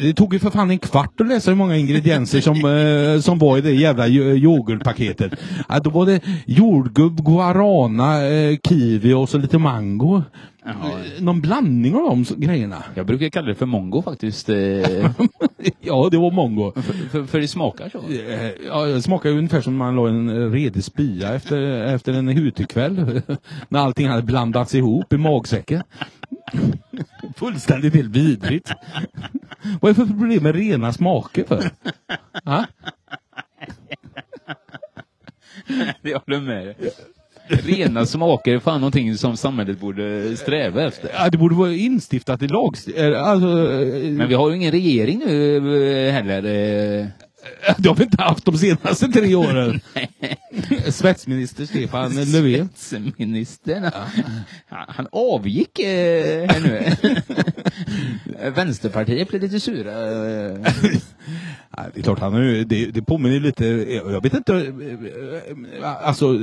S2: det tog ju för fan en kvart att läsa hur många ingredienser som, eh, som var i det jävla yo- yoghurtpaketet. Ja, då var det jordgubb, guarana, eh, kiwi och så lite mango.
S1: Jaha.
S2: Eh, Någon blandning av de s- grejerna. (laughs)
S1: Jag brukar kalla det för mongo faktiskt. eh,
S2: Ja, det var mongo.
S1: för, för det smakar så.
S2: Eh, Ja, det smakar ju ungefär som man la en eh, redig spya efter, efter en hutekväll. (laughs) När allting hade blandats ihop i magsäcken. (laughs) Fullständigt helt vidrigt. (laughs) Vad är det för problem med rena smaker för? Ha?
S1: Jag håller med dig. Rena smaker är fan någonting som samhället borde sträva efter.
S2: Ja, det borde vara instiftat i lagstiftningen. Alltså, eh,
S1: Men vi har ju ingen regering nu eh, heller. eh.
S2: (laughs) det har vi inte haft de senaste
S1: (laughs)
S2: tre åren. Svetsminister Stefan Löfven.
S1: Statsministern. Han, han avgick eh, här nu. (laughs) Vänsterpartiet blev lite sura. eh.
S2: (laughs) Ja, det är klart, han har ju, det, det påminner ju lite, jag jag vet inte, eh, eh, alltså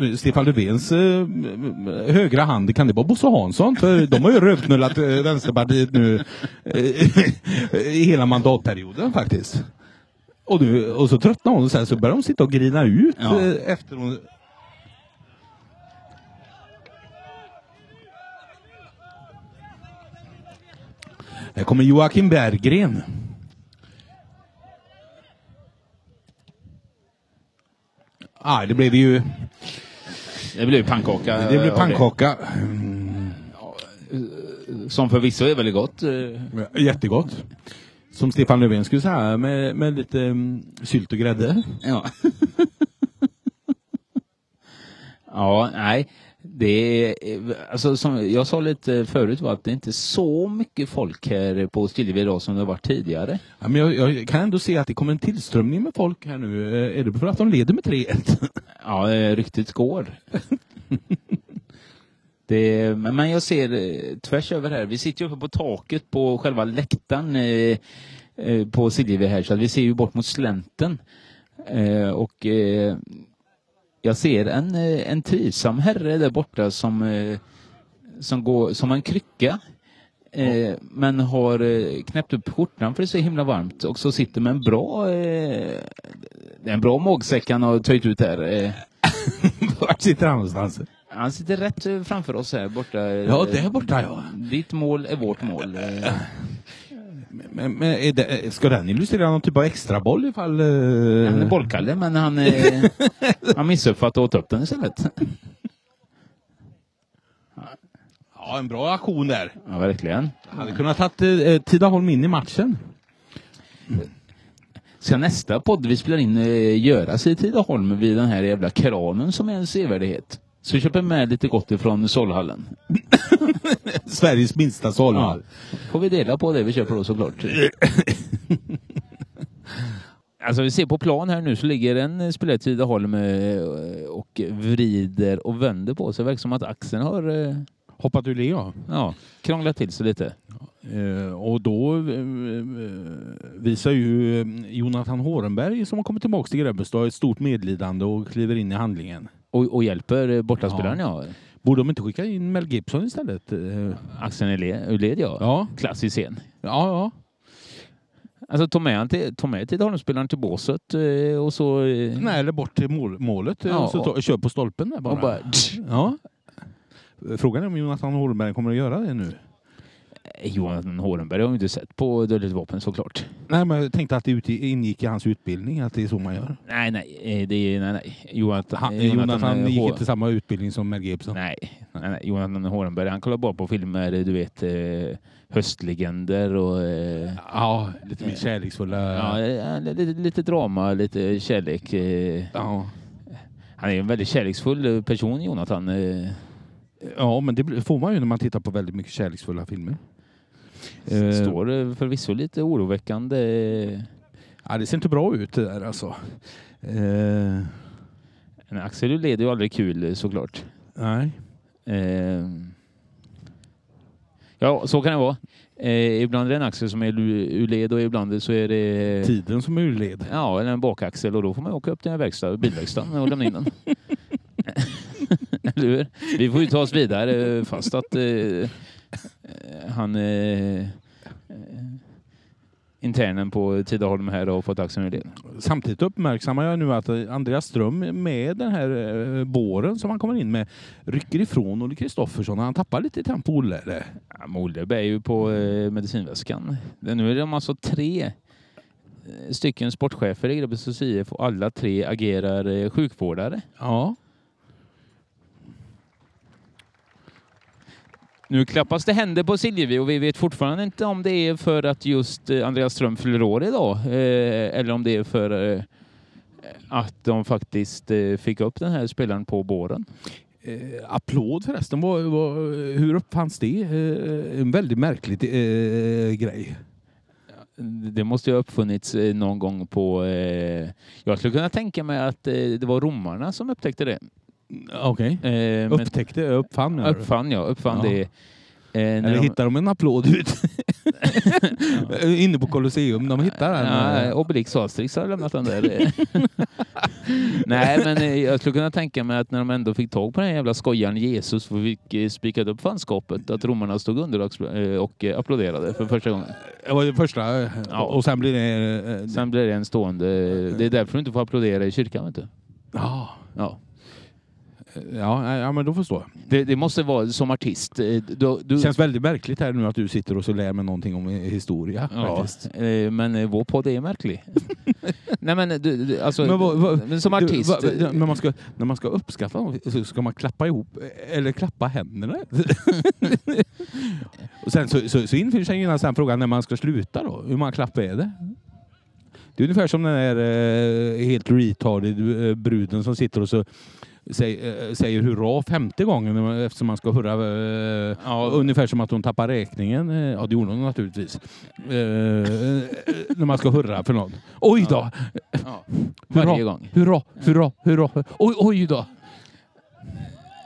S2: eh, Stefan Löfvens eh, högra hand, kan det vara Bosse Hansson? För de har ju rövknullat eh, Vänsterpartiet nu eh, i hela mandatperioden faktiskt. Och, nu, och så tröttnar hon och sen så börjar de sitta och grina ut
S1: Ja.
S2: eh, efter hon... Här kommer Joakim Berggren. Ah, det blev ju
S1: Det blev pannkaka.
S2: det blev
S1: eh,
S2: pannkaka.
S1: av det. Som förvisso är väldigt gott. eh.
S2: Jättegott. Som Stefan Löfven skulle säga, med, med lite mm, sylt och grädde.
S1: Ja. (laughs) ja, nej. Det är, alltså som jag sa lite förut var att det är inte så mycket folk här på Stillevi idag som det har varit tidigare.
S2: Ja, men jag, jag kan ändå se att det kommer en tillströmning med folk här nu. Eh, Är det för att (laughs) de leder med 3-1?
S1: Ja, eh, ryktet går. Det, men men jag ser eh, tvärs över här. Vi sitter ju uppe på taket på själva läktaren eh, eh, på Siljevi här så att vi ser ju bort mot slänten. Eh, och eh, jag ser en, eh, en trivsam herre där borta som, eh, som går som en krycka. Eh, men har eh, knäppt upp skjortan för det är så himla varmt och så sitter med en bra eh, det är en bra magsäck han har töjt ut här. Eh,
S3: Vart sitter han någonstans?
S1: han sitter rätt eh, framför oss här borta. eh,
S3: Ja, där borta ja.
S1: Ditt mål är vårt mål. Eh,
S3: Men, men är
S2: eh,
S3: det, ska den illustrera någon typ av extra boll ifall... eh,
S1: Han är bollkalle men han, eh, han missuppfattade och åt upp den istället.
S3: Ja, en bra aktion där.
S1: Ja, verkligen.
S3: Hade kunnat tagit eh, Tidaholm in i matchen.
S1: Ska nästa podd vi spelar in eh, göras i Tidaholm vid den här jävla kranen som är en sevärdhet? Så vi köper med lite gott ifrån Solhallen.
S3: Sveriges minsta
S1: Ja.
S3: solhall.
S1: Får vi dela på det vi köper då såklart. (laughs) Alltså vi ser på plan här nu så ligger en eh, spelare i Tidaholm eh, och vrider och vänder på sig. Det verkar som att axeln har eh,
S2: Hoppat ur led, ja.
S1: ja, krånglat till sig lite.
S2: Eh, och då eh, eh, visar ju eh, Jonathan Hårenberg som har kommit tillbaka till Grebbestad ett stort medlidande och kliver in i handlingen.
S1: Och, och hjälper eh, bortaspelaren ja.
S2: Borde de inte skicka in Mel Gibson istället? Eh, ja,
S1: Axeln är le- ur led ja.
S2: ja,
S1: Klassisk scen.
S2: ja.
S1: Alltså ta med, han till, ta med Tidaholmsspelaren till båset eh, och så... eh,
S2: Nej, eller bort till mål, målet. eh,
S1: Ja,
S2: så ta, kör på stolpen där bara.
S1: Och bara, tsch.
S2: Ja. Frågan är om Jonathan Hårenberg kommer att göra det nu.
S1: Johan Hårenberg har ju inte sett på Dödligt Vapen såklart.
S2: Nej, men jag tänkte att det utgi- ingick i hans utbildning, att det är så man gör.
S1: Nej, nej, eh, det är, nej, nej. Jonathan,
S2: Han,
S1: eh,
S2: Jonathan,
S1: eh,
S2: gick
S1: Hå-
S2: inte samma utbildning som Mel Gibson.
S1: Nej, nej, nej. Jonathan Hårenberg, han kollar bara på filmer, du vet, eh, höstlegender och... Eh,
S2: Ja, lite mer kärleksfulla...
S1: ja, eh, lite, lite drama, lite kärlek. Eh.
S2: ja.
S1: Han är en väldigt kärleksfull eh, person, Jonathan. Eh.
S2: Ja, men det blir- får man ju när man tittar på väldigt mycket kärleksfulla filmer. Eh,
S1: Står eh, förvisso lite oroväckande. eh,
S2: Ja, det ser inte bra ut det där alltså. Eh,
S1: Men Axel leder ju aldrig kul eh, såklart.
S2: nej.
S1: Eh, ja, så kan det vara. Eh, ibland är det en axel som är lu- ur led och ibland så är det...
S2: Tiden som är ur led.
S1: Ja, eller en bakaxel och då får man åka upp till en verkstad, bilverkstaden och lämna in den. eller hur? Vi får ju ta oss vidare eh, fast att eh, eh, han eh, eh, internen på Tidaholm här har fått axeln ur led.
S2: Samtidigt uppmärksammar jag nu att eh, Andreas Ström med den här eh, båren som han kommer in med rycker ifrån Olle Kristoffersson och han tappar lite i tempo Olle. eller?
S1: Ja, Molderb är ju på eh, medicinväskan. Det- Nu är de alltså tre eh, stycken sportchefer i Grebbestads IF och alla tre agerar eh, sjukvårdare.
S2: Ja.
S1: Nu klappas det händer på Siljevi och vi vet fortfarande inte om det är för att just eh, Andreas Ström fyller år idag eh, eller om det är för eh, att de faktiskt eh, fick upp den här spelaren på båren.
S2: Eh, applåd förresten. Vad- vad- hur uppfanns det? Eh, en väldigt märklig eh, grej.
S1: Det måste ju ha uppfunnits eh, någon gång på... Eh, jag skulle kunna tänka mig att eh, det var romarna som upptäckte det.
S2: Okej.
S1: Eh, men-
S2: Upptäckte, uppfann menar du?
S1: Uppfann ja, uppfann
S2: Ja.
S1: det. Eh, när
S2: Eller
S1: de-
S2: hittar de en applåd
S1: (laughs)
S2: ut? Inne på Colosseum, de hittar den.
S1: Ja, eh, Obelix och Asterix har lämnat den där.
S2: (laughs)
S1: Nej, men eh, jag skulle kunna tänka mig att när de ändå fick tag på den här jävla skojaren Jesus och fick eh, spikat upp fanskapet, att romarna stod under och expl- eh, och eh, applåderade för första gången.
S2: Det var det första. eh,
S1: Ja.
S2: Och sen blir det... eh,
S1: Sen blev det en stående... Det är därför du inte får applådera i kyrkan, vet du.
S2: Ja,
S1: Ja.
S2: ja, nej, ja, men då förstår jag.
S1: Det, det måste vara som artist. eh, Du, du,
S2: Det känns väldigt märkligt här nu att du sitter och så lär mig någonting om eh, historia.
S1: ja,
S2: faktiskt.
S1: eh, men eh, vår podd är
S2: (laughs)
S1: märklig. Nej, men du, du, alltså...
S2: Men vad- vad-
S1: men som
S2: du,
S1: artist... eh,
S2: vad- vad- när, man ska, när man ska uppskatta någon så ska man klappa ihop, eh, eller
S1: (laughs)
S2: klappa händerna. och sen så, så, så infinner sig genast den frågan när man ska sluta då. Hur många klappar är det? Det är ungefär som den där eh, helt retarded eh, bruden som sitter och så säg, eh, säger hurra femte gången när man- eftersom man ska hurra. Eh,
S1: Ja.
S2: Ungefär som att hon tappar räkningen. eh, Ja, det gjorde hon naturligtvis. Eh, när man ska hurra för någon. Oj då!
S1: ja,
S2: Hurra,
S1: varje gång.
S2: Hurra, hurra, hurra. Oj, oj då.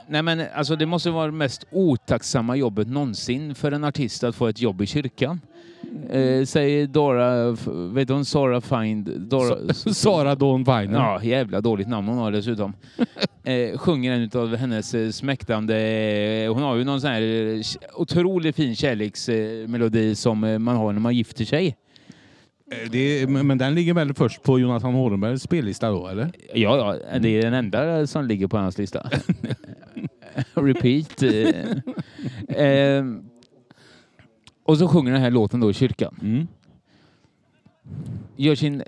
S1: Nej, men alltså, det måste vara det mest otacksamma jobbet någonsin för en artist att få ett jobb i kyrkan. Eh, säger Dora, f- vet hon Sara Find? Dora, (laughs)
S2: Sara Dawn Viner.
S1: Ja, jävla dåligt namn hon har dessutom. eh, sjunger en utav hennes eh, smäktande... Eh, hon har ju någon sån här eh, otroligt fin kärleksmelodi eh, melodi som eh, man har när man gifter sig.
S2: Eh, Det är, men men den ligger väl först på Jonathan Holmbergs spellista då, eller?
S1: Ja,
S2: Mm.
S1: ja, det är den enda som ligger på hans lista. (laughs) Repeat. eh. eh, och så sjunger den här låten då i kyrkan.
S2: Mm.
S1: Gör sin eh,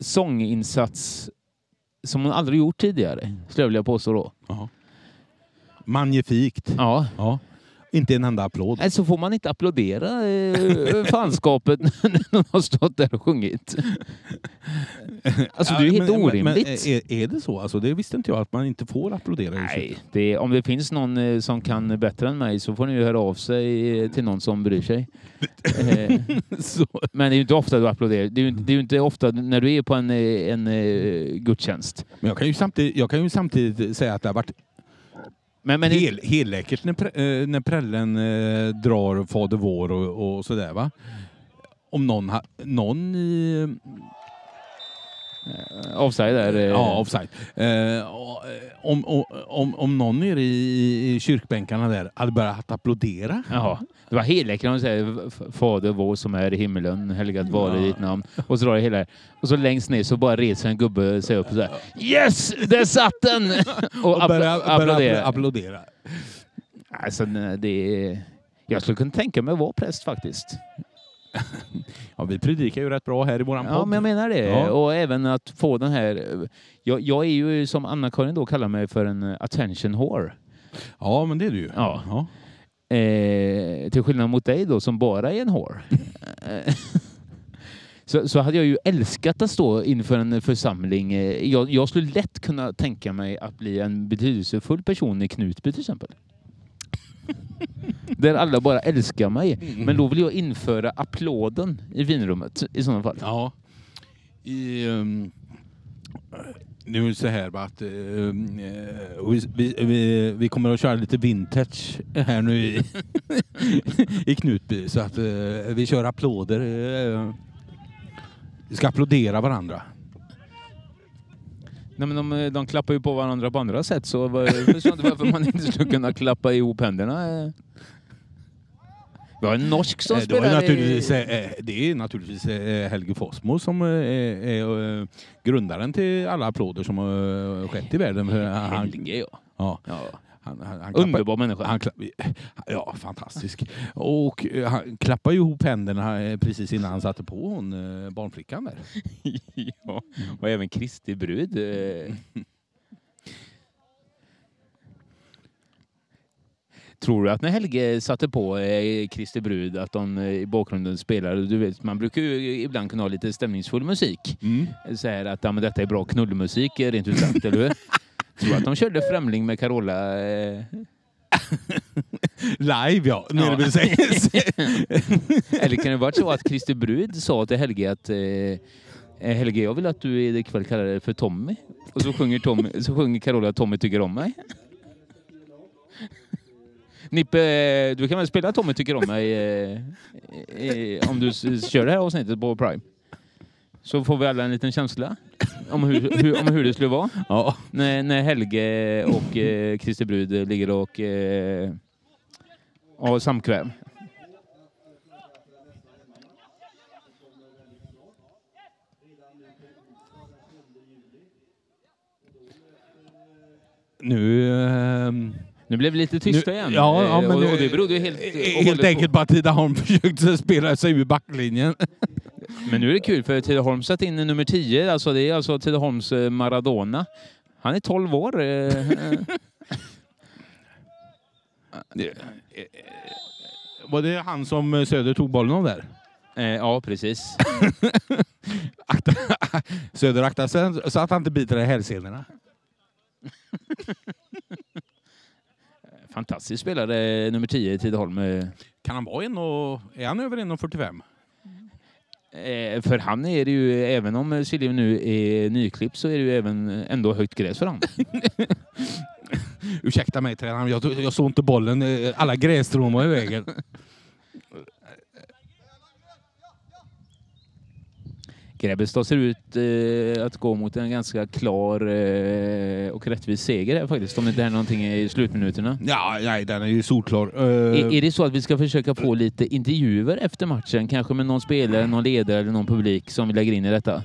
S1: sånginsats som hon aldrig gjort tidigare,
S2: Mm.
S1: skulle jag vilja påstå då.
S2: Magnifikt.
S1: Ja.
S2: Ja. Inte en enda applåd.
S1: Nej, så får man inte applådera eh, fanskapet (laughs) när någon har stått där och
S2: (laughs)
S1: sjungit. Alltså, det är ju helt
S2: Ja, men- eh, men-
S1: orimligt.
S2: Men, är, är det så? Alltså, det visste inte jag, att man inte får applådera. i kyrkan.
S1: Nej, det är, om det finns någon eh, som kan bättre än mig så får ni ju höra av sig eh, till någon som bryr
S2: (laughs)
S1: sig. Eh, (laughs)
S2: Så.
S1: Men det är ju inte ofta du applåderar. Det är ju inte, det är ju inte ofta när du är på en, eh, en eh, gudstjänst.
S2: Men jag kan, ju samtidigt, jag kan ju samtidigt säga att det har varit
S1: Men, men
S2: hel, helläckert när, pre, eh, när prällen eh, drar Fader vår och, och sådär va. Om någon, ha, någon i...
S1: offside där. eh,
S2: Ja, offside. Eh, och, eh, om, om, om, om någon nere i, i kyrkbänkarna där hade börjat applådera.
S1: Jaha. Det var helläckande om säger "F- Fader vår som är i himmelen, helgat vare
S2: Ja.
S1: ditt namn. Och så drar det hela. Och så längst ner så bara reser en gubbe sig upp och säger Yes! Där satt
S2: (laughs)
S1: den! Och,
S2: Och börja,
S1: appl-
S2: börja
S1: applåderar.
S2: applådera.
S1: Alltså, nej, det är... Jag skulle kunna tänka mig att vara präst faktiskt.
S2: Ja, vi predikar ju rätt bra här i våran
S1: Ja,
S2: podd.
S1: men jag menar det.
S2: Ja.
S1: Och även att få den här... Jag, jag är ju, som Anna-Karin då kallar mig, för en attention whore.
S2: ja, men det är du ju.
S1: Ja.
S2: Ja.
S1: Eh, till skillnad mot dig då som bara är en hår. Eh, (laughs) så, så hade jag ju älskat att stå inför en församling. Eh, Jag, jag skulle lätt kunna tänka mig att bli en betydelsefull person i Knutby till
S2: (laughs)
S1: exempel. Där alla bara älskar mig.
S2: Mm.
S1: Men då vill jag införa applåden i vinrummet i sådana fall.
S2: Ja. I, ehm, nu är det så här va, att ehm, eh, och vi, vi- vi, vi kommer att köra lite vintage här nu i, (laughs) i Knutby. Så att eh, vi kör applåder. eh, vi ska applådera varandra.
S1: Nej, men de, de klappar ju på varandra på andra sätt så var- jag förstår inte varför man inte skulle kunna klappa ihop händerna. eh. Vi har en norsk som
S2: Eh, det, var ju
S1: spelar
S2: naturligtvis,
S1: i...
S2: eh, eh, det är naturligtvis eh, Helge Fossmo som eh, är, är eh, grundaren till alla applåder som har skett i världen. För Han,
S1: Helge, ja.
S2: ja,
S1: ja.
S2: han, han, han klappar-
S1: Underbar människa.
S2: Han klapp- ja, fantastisk. Och eh, han klappade ju ihop händerna eh, precis innan han satte på hon, eh, barnflickan där.
S1: (laughs) ja. Och även Kristi brud. eh. Tror du att när Helge satte på eh, Kristi brud att de eh, i bakgrunden spelade, du vet, man brukar ju ibland kunna ha lite stämningsfull musik.
S2: Mm.
S1: så här att ja, men detta är bra knullmusik eh, rent ut sagt, eller hur? Tror att de körde Främling med Carola. Eh,
S2: Live ja, nere
S1: (laughs) Ja.
S2: vid sängs.
S1: eller kan det varit så att Christer Brud sa till Helge att eh, eh, Helge, jag vill att du ikväll kallar dig för Tommy. Och så sjunger, Tommy, så sjunger Carola Tommy tycker om mig. Nippe, eh, du kan väl spela Tommy tycker om mig eh, eh, om du s- kör det här avsnittet på Prime. Så får vi alla en liten känsla om hur, hur, om hur det skulle vara.
S2: ja.
S1: När, när Helge och eh, Christer Brud ligger och eh, har samkväm.
S2: Nu... ehm,
S1: Nu blev vi lite tysta
S2: nu-
S1: igen.
S2: Ja, ja,
S1: Eh,
S2: men
S1: och,
S2: nu-
S1: och det berodde ju helt,
S2: eh,
S1: och
S2: helt
S1: hållet
S2: enkelt på att Tidaholm (laughs) försökte spela sig ur backlinjen.
S1: På. Men nu är det kul för Tidaholm satte in nummer 10. Alltså, det är alltså Tidaholms eh, Maradona. Han är 12 år. eh, eh.
S2: Eh, Var det han som eh, Söder tog bollen av där?
S1: Eh, ja, precis.
S2: Söder akta sig så att han inte biter i hälsenorna.
S1: Fantastisk spelare, eh, nummer 10 i Tidaholm. eh.
S2: Kan han vara en och... Är han över 1,45?
S1: Eh, för han är det ju, även om eh, Silje nu är nyklippt så är det ju även eh, ändå högt gräs för han.
S2: Ursäkta mig tränaren, jag, jag såg inte bollen. eh, Alla grässtrån var i vägen.
S1: Grebbestad ser ut eh, att gå mot en ganska klar eh, och rättvis seger här faktiskt, om det inte händer någonting i slutminuterna.
S2: (laughs) Ja, nej, den är ju solklar. Eh,
S1: Är, är det så att vi ska försöka få lite intervjuer efter matchen? Kanske med någon spelare, någon ledare eller någon publik som vi lägger in i detta?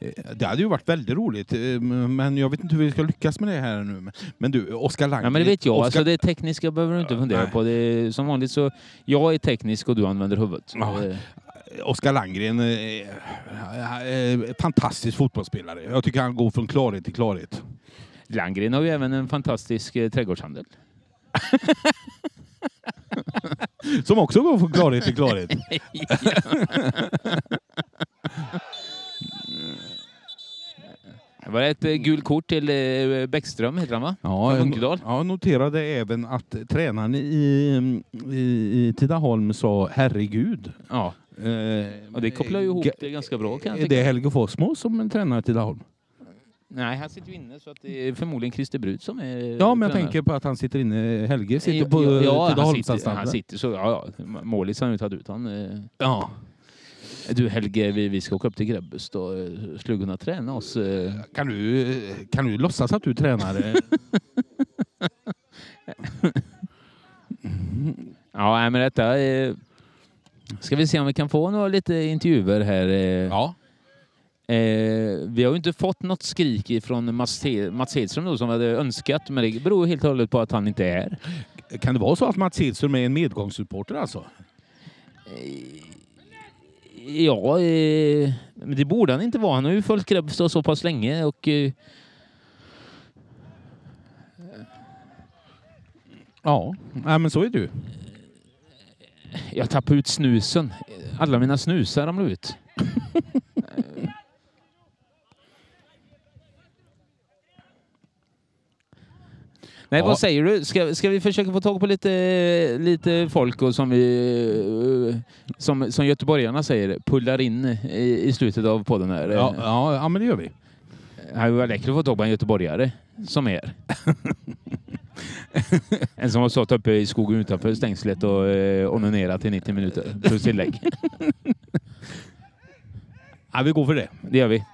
S2: eh, Det hade ju varit väldigt roligt, eh, men jag vet inte hur vi ska lyckas med det här nu. Men- Men du, Oskar Lang...
S1: Ja, men det vet jag.
S2: Oskar-
S1: Alltså, det tekniska behöver du inte fundera
S2: Nej.
S1: på. Det är, som vanligt så, jag är teknisk och du använder huvudet.
S2: Ja.
S1: Eh,
S2: Oskar Landgren, eh, eh, fantastisk fotbollsspelare. Jag tycker han går från klarhet till klarhet.
S1: Landgren har ju även en fantastisk eh, trädgårdshandel.
S2: Som också går från klarhet till klarhet.
S1: Det var ett eh, gult kort till eh, Bäckström, heter han va?
S2: Ja,
S1: Från
S2: jag,
S1: Munkedal.
S2: no- ja, jag noterade även att tränaren i, i, i Tidaholm sa herregud.
S1: Ja.
S2: Eh,
S1: Och det kopplar ju ihop
S2: Ga-
S1: det ganska bra kan jag
S2: Är
S1: tycka.
S2: det Helge Fossmo som är tränare i Tidaholm?
S1: Nej, han sitter ju inne så att det är förmodligen Christer Brut som är
S2: Ja, men jag
S1: tränare.
S2: tänker på att han sitter inne. Helge sitter på
S1: ja,
S2: eh,
S1: ja, han, sitter, han
S2: Tidaholmsanstalten.
S1: sitter så, ja, ja. Målis har han ju tagit ut han. eh.
S2: Ja.
S1: Du Helge, vi, vi ska åka upp till Grebbestad och eh, skulle kunna träna oss. eh.
S2: Kan, du, eh, kan du låtsas att du
S1: (laughs)
S2: är tränare?
S1: Ja, nej, men detta... eh, Ska vi se om vi kan få några lite intervjuer här. eh.
S2: ja.
S1: Eh, vi har ju inte fått något skrik ifrån Mats, He- Mats Hedström då, som vi hade önskat, men det beror ju helt och hållet på att han inte är här.
S2: Kan det vara så att Mats Hedström är en medgångssupporter alltså?
S1: Ja, eh, men det borde han inte vara. Han har ju följt Grebbestad så pass länge och... Eh,
S2: Ja, ja men så är du.
S1: jag tappade ut snusen. Alla mina snusar ramlade ut. Eh. (laughs) Nej,
S2: Ja.
S1: vad säger du? Ska, ska vi försöka få tag på lite, lite folk och som, vi, eh, som, som göteborgarna säger, pullar in i, i slutet av podden här? Eh,
S2: Ja, ja, ja men det gör vi.
S1: Det hade varit läckert att få tag på en göteborgare som er. (laughs) en som har stått uppe i skogen utanför stängslet och eh, onanerat i 90 minuter. Plus tillägg.
S2: Ja, vi går för det.
S1: Det gör vi.